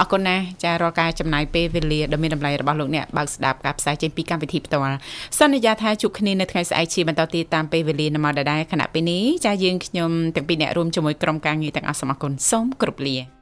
S2: អរគុណណាស់ចាស់រាល់ការចំណាយពេលវេលាដ៏មានតម្លៃរបស់លោកអ្នកបើកស្ដាប់ការផ្សាយចេញពីកម្មវិធីផ្ទាល់សន្យាថាជួបគ្នានៅថ្ងៃស្អែកជាបន្តទៀតតាមពេលវេលានៅម៉ោងដដែលខណៈពេលនេះចាស់យើងខ្ញុំទាំងពីរអ្នករួមជាមួយក្រុមការងារទាំងអស់សូមអរគុណសូមគោរពលា